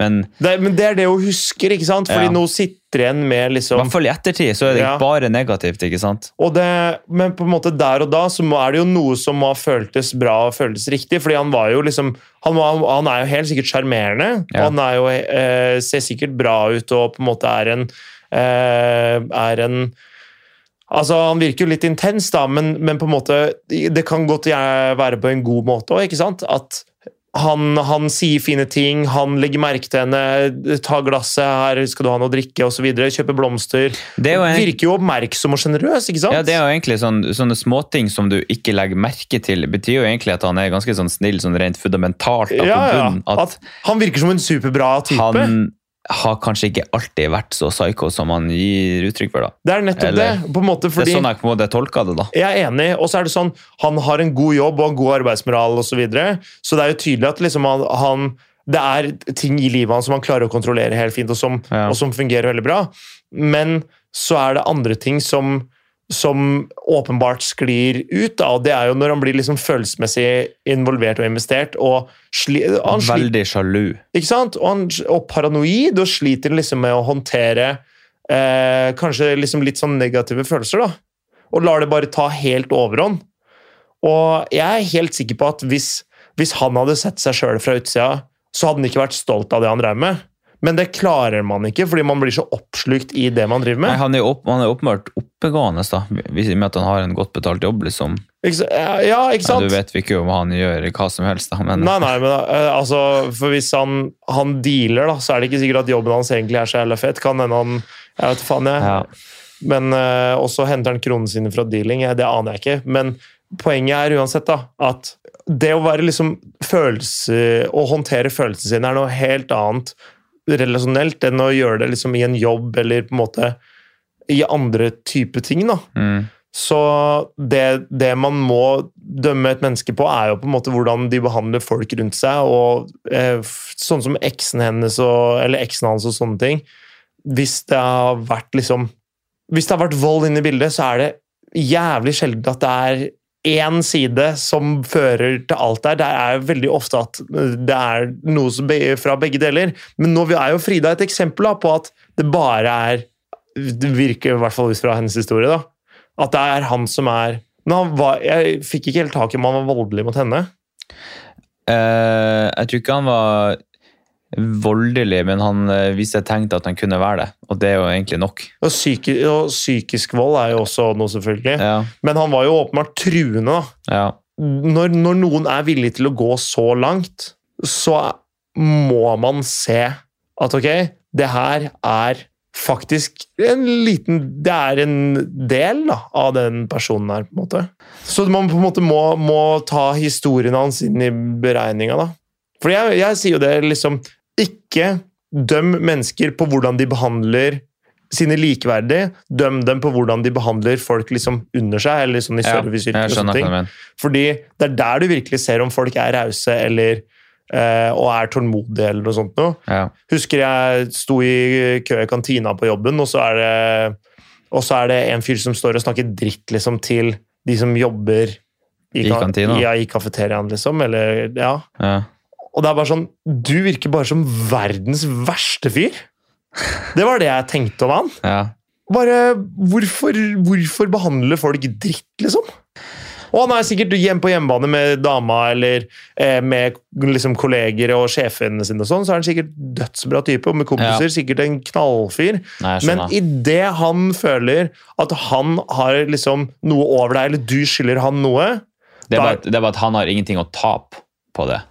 S1: men
S2: Det, men det er det hun husker, ikke sant? Fordi
S1: Ja.
S2: nå sitter igjen med
S1: i
S2: liksom
S1: hvert fall i ettertid så er det
S2: Ja.
S1: bare negativt, ikke sant?
S2: og det, Men på en måte der og da så må- er det jo noe som må ha føltes bra og føltes riktig. Fordi han var jo liksom Han, var, han er jo helt sikkert sjarmerende.
S1: Ja.
S2: Og han er jo, eh, ser sikkert bra ut og på en måte er en eh, Er en Altså, Han virker jo litt intens, da, men, men på en måte, det kan godt gjerne være på en god måte òg. At han, han sier fine ting, han legger merke til henne, tar glasset her, skal du ha noe å drikke, osv. Kjøper blomster.
S1: Det er jo en,
S2: Virker jo oppmerksom og sjenerøs, ikke sant?
S1: ja, det er jo egentlig sånn, sånne småting som du ikke legger merke til, betyr jo egentlig at han er ganske sånn snill sånn rent fundamentalt. Da,
S2: Ja,
S1: på
S2: ja.
S1: bunnen, at
S2: At han virker som en superbra type.
S1: han har kanskje ikke alltid vært så psycho som han gir uttrykk for. da.
S2: det er nettopp
S1: Eller-
S2: det. på en måte
S1: Det
S2: fordi
S1: er sånn jeg på en måte tolker det, da.
S2: Jeg er enig, og så er det sånn han har en god jobb og en god arbeidsmoral osv. Så, videre. så det er jo tydelig at liksom han, han det er ting i livet hans som han klarer å kontrollere helt fint, og som,
S1: Ja.
S2: og som fungerer veldig bra. Men så er det andre ting som, som åpenbart sklir ut, da, og det er jo når han blir liksom følelsesmessig involvert og investert. og sli, han sliter
S1: Veldig sjalu.
S2: Ikke sant? Og, han, og paranoid, og sliter liksom med å håndtere eh, kanskje liksom litt sånn negative følelser, da. Og lar det bare ta helt overhånd. Og jeg er helt sikker på at hvis, hvis han hadde sett seg sjøl fra utsida, så hadde han ikke vært stolt av det han drev med. Men det klarer man ikke, fordi man blir så oppslukt i det man driver
S1: Nei,
S2: med.
S1: han er jo opp, han er oppmørt oppegående, da, hvis- i og med at han har en godt betalt jobb. liksom.
S2: Ikke, s- ja, ikke
S1: Ja,
S2: sant?
S1: du vet ikke om han gjør hva som helst, da, men
S2: Nei, nei, men eh, altså, for hvis han, han dealer, da, så er det ikke sikkert at jobben hans egentlig er så jævla fett. Kan hende han Jeg vet faen, jeg.
S1: Ja.
S2: Men eh, også henter han kronene sine fra dealing. eh, Det aner jeg ikke. Men poenget er uansett da, at det å være liksom følelse Å håndtere følelsene sine er noe helt annet relasjonelt enn å gjøre det liksom i en jobb eller på en måte i andre type ting. da.
S1: Mm.
S2: Så det, det man må dømme et menneske på, er jo på en måte hvordan de behandler folk rundt seg. og eh, f- Sånn som eksen hennes og, eller eksen hans og sånne ting. Hvis det har vært liksom Hvis det har vært vold inne i bildet, så er det jævlig sjelden at det er én side som fører til alt der. Det er veldig ofte at det er noe som be- fra begge deler. Men nå er jo Frida et eksempel da, på at det bare er Det virker i hvert fall ut fra hennes historie, da. At det er han som er Men han var, jeg fikk ikke helt tak i om han var voldelig mot henne.
S1: Eh, jeg tror ikke han var voldelig, men han eh, viste tegn til at han kunne være det, og det er jo egentlig nok.
S2: Og, psyki, og psykisk vold er jo også noe, selvfølgelig.
S1: Ja,
S2: Men han var jo åpenbart truende, da.
S1: ja.
S2: Når, når noen er villig til å gå så langt, så må man se at ok, det her er faktisk en liten Det er en del da, av den personen her, på en måte. Så man på en måte må, må ta historien hans inn i beregninga, da. For jeg, jeg sier jo det liksom Ikke døm mennesker på hvordan de behandler sine likeverdige. Døm dem på hvordan de behandler folk liksom under seg, eller sånn i
S1: ja.
S2: serviceyrker.
S1: Jeg
S2: og sånne
S1: skjønner hva
S2: ting.
S1: du mener.
S2: Fordi det er der du virkelig ser om folk er rause eller eh, og er tålmodige eller noe sånt. Noe.
S1: Ja.
S2: Husker jeg sto i kø i kantina på jobben, og så er det, og så er det en fyr som står og snakker dritt liksom, til de som jobber
S1: I
S2: ka-
S1: kantina?
S2: Ja, i kafeteriaen, liksom. Eller, ja.
S1: Ja.
S2: Og det er bare sånn Du virker bare som verdens verste fyr! Det var det jeg tenkte om han.
S1: Ja.
S2: Bare, hvorfor, hvorfor behandler folk dritt, liksom? Og han er sikkert hjem på hjemmebane med dama eller eh, med liksom, kolleger og sjefene sine, og sånn, så er han sikkert dødsbra type, og med kompiser sikkert en knallfyr.
S1: Nei, jeg
S2: Men
S1: skjønner.
S2: idet han føler at han har liksom noe over deg, eller du skylder han noe
S1: det, er bare, at- det er bare at han har ingenting å tape på det.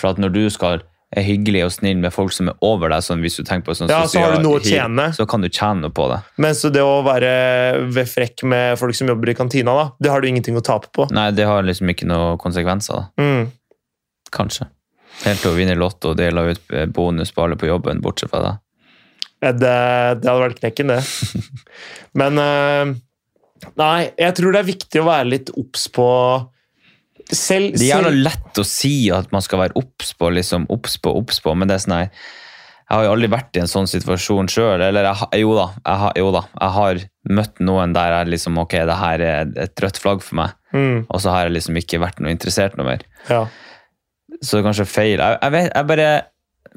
S1: For at når du skal er hyggelig og snill med folk som er over deg, sånn hvis du tenker på sånn
S2: Ja, så har du
S1: sosial
S2: noe å
S1: hi-
S2: tjene.
S1: Så kan du tjene noe på det.
S2: Men så det å være ved frekk med folk som jobber i kantina, da, det har du ingenting å tape på.
S1: Nei, det har liksom ikke noen konsekvenser, da.
S2: Mm.
S1: Kanskje. Helt til å vinne lotto og dele ut bonus på alle på jobben, bortsett fra deg.
S2: Ja, Det, det hadde vært knekken, det.
S1: [LAUGHS]
S2: Men eh, Nei, jeg tror det er viktig å være litt obs på selv,
S1: Det er jævla
S2: selv
S1: lett å si at man skal være obs på, liksom, obs på, obs på, men det er sånn, nei, jeg har jo aldri vært i en sånn situasjon sjøl. Eller jeg, har- jo, da, jeg, har- jo da, jeg har møtt noen der jeg liksom Ok, det her er et rødt flagg for meg,
S2: mm,
S1: og så har jeg liksom ikke vært noe interessert noe mer.
S2: ja.
S1: Så det er kanskje feil. Jeg, jeg vet, jeg bare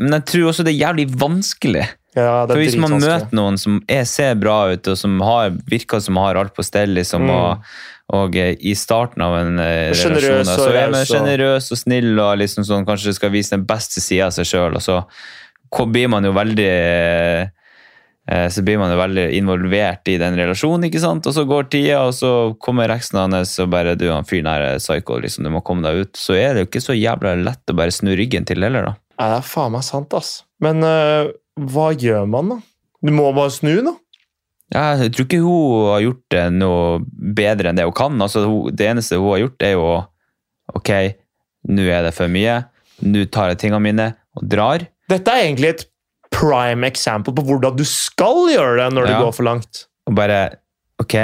S1: Men jeg tror også det er jævlig vanskelig.
S2: ja,
S1: For
S2: det er
S1: hvis man
S2: dritvanskelig.
S1: møter noen som er, ser bra ut, og som har, virker som har alt på stell, liksom,
S2: Mm.
S1: og, og eh, i starten av en eh,
S2: Og
S1: relasjon,
S2: generøs
S1: da,
S2: og
S1: så er man
S2: raus og-
S1: sjenerøs og snill og liksom sånn, kanskje skal vise den beste sida av seg sjøl, og så ko- blir man jo veldig eh, eh, så blir man jo veldig involvert i den relasjonen, ikke sant? og så går tida, og så kommer eksen hans og bare du, han fyren her er psycho, liksom, du må komme deg ut. Så er det jo ikke så jævla lett å bare snu ryggen til heller, da.
S2: Nei, det er faen meg sant, ass. Men eh, hva gjør man, da? Du må bare snu, da.
S1: Ja, jeg tror ikke hun har gjort det noe bedre enn det hun kan. Altså, hun, det eneste hun har gjort, er jo å, Ok, nå er det for mye. Nå tar jeg tingene mine og drar.
S2: Dette er egentlig et prime example på hvordan du skal gjøre det når
S1: Ja.
S2: det går for langt.
S1: Og bare Ok,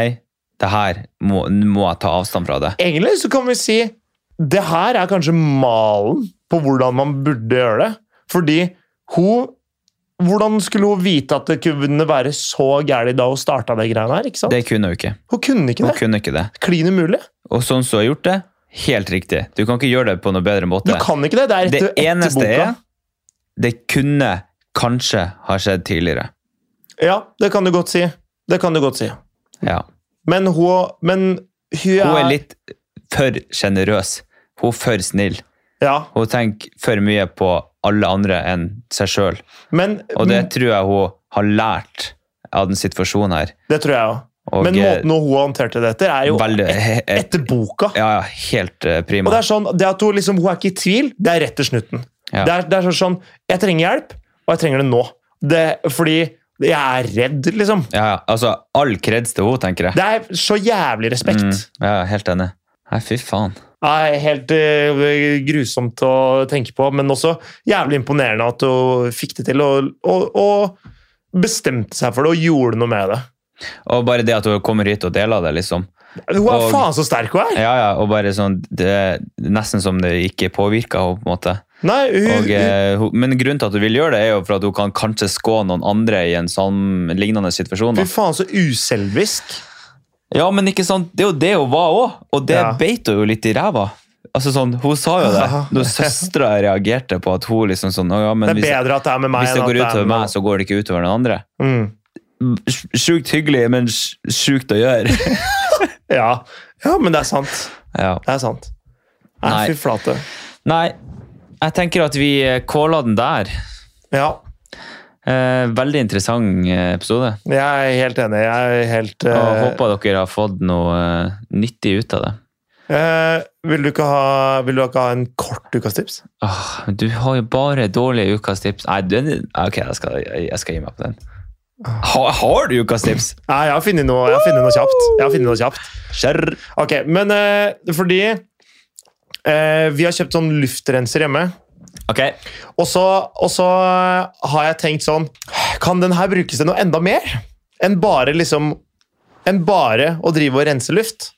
S1: det her må, nå må jeg ta avstand fra det.
S2: Egentlig så kan vi si det her er kanskje malen på hvordan man burde gjøre det. Fordi hun Hvordan skulle hun vite at det kunne være så gærent da hun starta det greiene her? ikke sant?
S1: Det kunne hun ikke.
S2: Hun kunne ikke
S1: Hun
S2: det.
S1: kunne ikke det.
S2: Klin umulig.
S1: Og sånn som hun har gjort det, helt riktig. Du kan ikke gjøre det på noe bedre
S2: Du
S1: måte.
S2: kan ikke det. Det er
S1: Det
S2: etter, etter
S1: eneste
S2: boka.
S1: er Det kunne kanskje ha skjedd tidligere.
S2: Ja, det kan du godt si. Det kan du godt si.
S1: Ja.
S2: Men hun Men hun er,
S1: Hun er litt for sjenerøs. Hun er for snill.
S2: Ja,
S1: Hun tenker for mye på alle andre enn seg sjøl.
S2: men
S1: Og det tror jeg hun har lært av den situasjonen her.
S2: det tror jeg òg.
S1: Og
S2: Men
S1: eh,
S2: måten hun håndterte det etter, er jo
S1: veldig, he- he-
S2: etter boka.
S1: ja, ja, helt eh,
S2: Og
S1: prima.
S2: det er sånn, det at hun, liksom, hun er ikke i tvil, det er rett til snutten.
S1: Ja.
S2: Det, er, det er sånn, sånn Jeg trenger hjelp, og jeg trenger det nå. Det, fordi jeg er redd, liksom.
S1: Ja, ja, altså, all kreds til henne, tenker jeg.
S2: Det er så jævlig respekt.
S1: Mm, ja, ja, helt enig. Nei, fy faen.
S2: Det er helt eh, grusomt å tenke på, men også jævlig imponerende at hun fikk det til. Og, og, og bestemte seg for det og gjorde noe med det.
S1: Og bare det at hun kommer hit og deler det, liksom.
S2: Hun er
S1: Og-
S2: faen så sterk hun er!
S1: Ja, ja, og bare sånn, det, Nesten som det ikke påvirka henne, på en måte.
S2: Nei, hun,
S1: Og, eh, hun- men grunnen til at hun vil gjøre det, er jo for at hun kan kanskje skåne noen andre i en sånn lignende situasjon. Da.
S2: Fy faen, så uselvisk.
S1: Ja, men ikke sant, det er jo det hun var òg, og det
S2: Ja.
S1: beit hun jo litt i ræva. Altså sånn, Hun sa jo det når søstera reagerte på at hun liksom sånn «Å ja, men
S2: Det er
S1: hvis,
S2: bedre at det er med meg
S1: hvis det
S2: enn at
S1: går
S2: det er
S1: utover
S2: med
S1: meg, så går det ikke utover den andre.
S2: Mm.
S1: Sj- Sjukt hyggelig, men sj- sjukt å gjøre.
S2: Ja. ja, men det er sant.
S1: ja.
S2: Det er sant. Nei,
S1: Nei.
S2: fy flate.
S1: Nei, jeg tenker at vi calla den der.
S2: Ja,
S1: Eh, veldig interessant eh, episode.
S2: jeg er helt enig. Jeg er helt
S1: Og
S2: eh,
S1: Håper dere har fått noe eh, nyttig ut av det.
S2: eh, vil, du ikke ha, vil du ikke ha en kort ukas tips?
S1: Åh, Ah, men du har jo bare dårlige ukas tips. Nei, den, ok, jeg skal, jeg, jeg skal gi meg på den. Ha, har du ukas tips?
S2: Nei, jeg har funnet noe, jeg har funnet noe kjapt. Jeg har funnet noe kjapt.
S1: Skjørr!
S2: Ok, men eh, fordi eh, vi har kjøpt sånn luftrenser hjemme,
S1: Ok,
S2: og så, og så har jeg tenkt sånn Kan den her brukes til noe enda mer enn bare liksom Enn bare å drive og rense luft?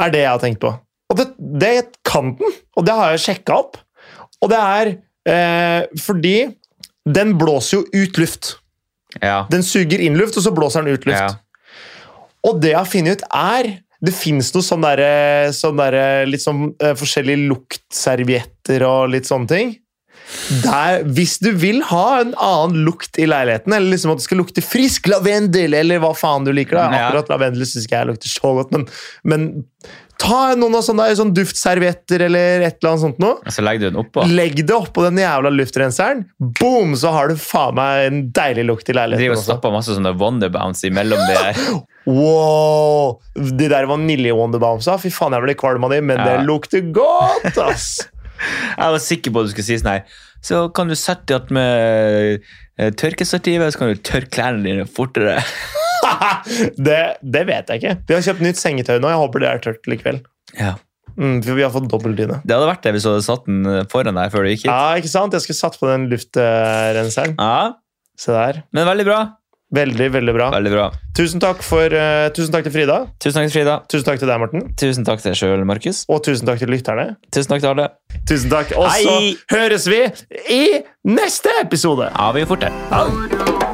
S2: Er det jeg har tenkt på. Og det, det kan den, og det har jeg sjekka opp. Og det er eh, fordi den blåser jo ut luft.
S1: ja.
S2: Den suger inn luft, og så blåser den ut luft.
S1: ja.
S2: Og det jeg har funnet ut, er Det fins noe sånn eh, derre sånn der, Litt sånn eh, forskjellige luktservietter og litt sånne ting. der, hvis du vil ha en annen lukt i leiligheten, eller liksom at det skal lukte frisk lavendel, eller hva faen du liker da.
S1: Ja.
S2: Akkurat lavendel syns ikke jeg lukter så godt, men, men ta noen av sånne, sånn duftservietter eller et eller annet sånt noe.
S1: Og så legger du den oppå.
S2: Legg det oppå den jævla luftrenseren, boom, så har du faen meg en deilig lukt i
S1: Driver og
S2: leiligheten. Også.
S1: stapper masse sånne Wonderbounce imellom det [GASPS] her.
S2: Wow! De der vanilje-wonderbombsa, Ah, fy faen, jeg ble kvalm av de, men
S1: Ja.
S2: det lukter godt, ass! [LAUGHS]
S1: Jeg var sikker på at du skulle si sånn her. Så kan du sette deg med eh, tørkestativet, så kan du tørke klærne dine fortere.
S2: det, det vet jeg ikke. Vi har kjøpt nytt sengetøy nå. Jeg håper det er tørt likevel.
S1: Ja.
S2: Mm, for vi har fått dobbeltdyne.
S1: Det hadde vært det hvis du hadde satt den foran deg før du gikk hit.
S2: Ja, ikke sant? Jeg skulle satt på den luftrenseren.
S1: Ja,
S2: Se der.
S1: men veldig bra.
S2: Veldig, veldig bra.
S1: Veldig bra.
S2: Tusen takk, for, eh, tusen takk til Frida.
S1: Tusen takk til Frida.
S2: Tusen takk til deg, Morten.
S1: Tusen takk til deg sjøl, Markus.
S2: Og tusen takk til lytterne.
S1: Tusen takk til alle.
S2: Tusen takk. Og så
S1: Hei!
S2: høres vi i neste episode!
S1: Ja, vi er fortere.
S2: Ha det.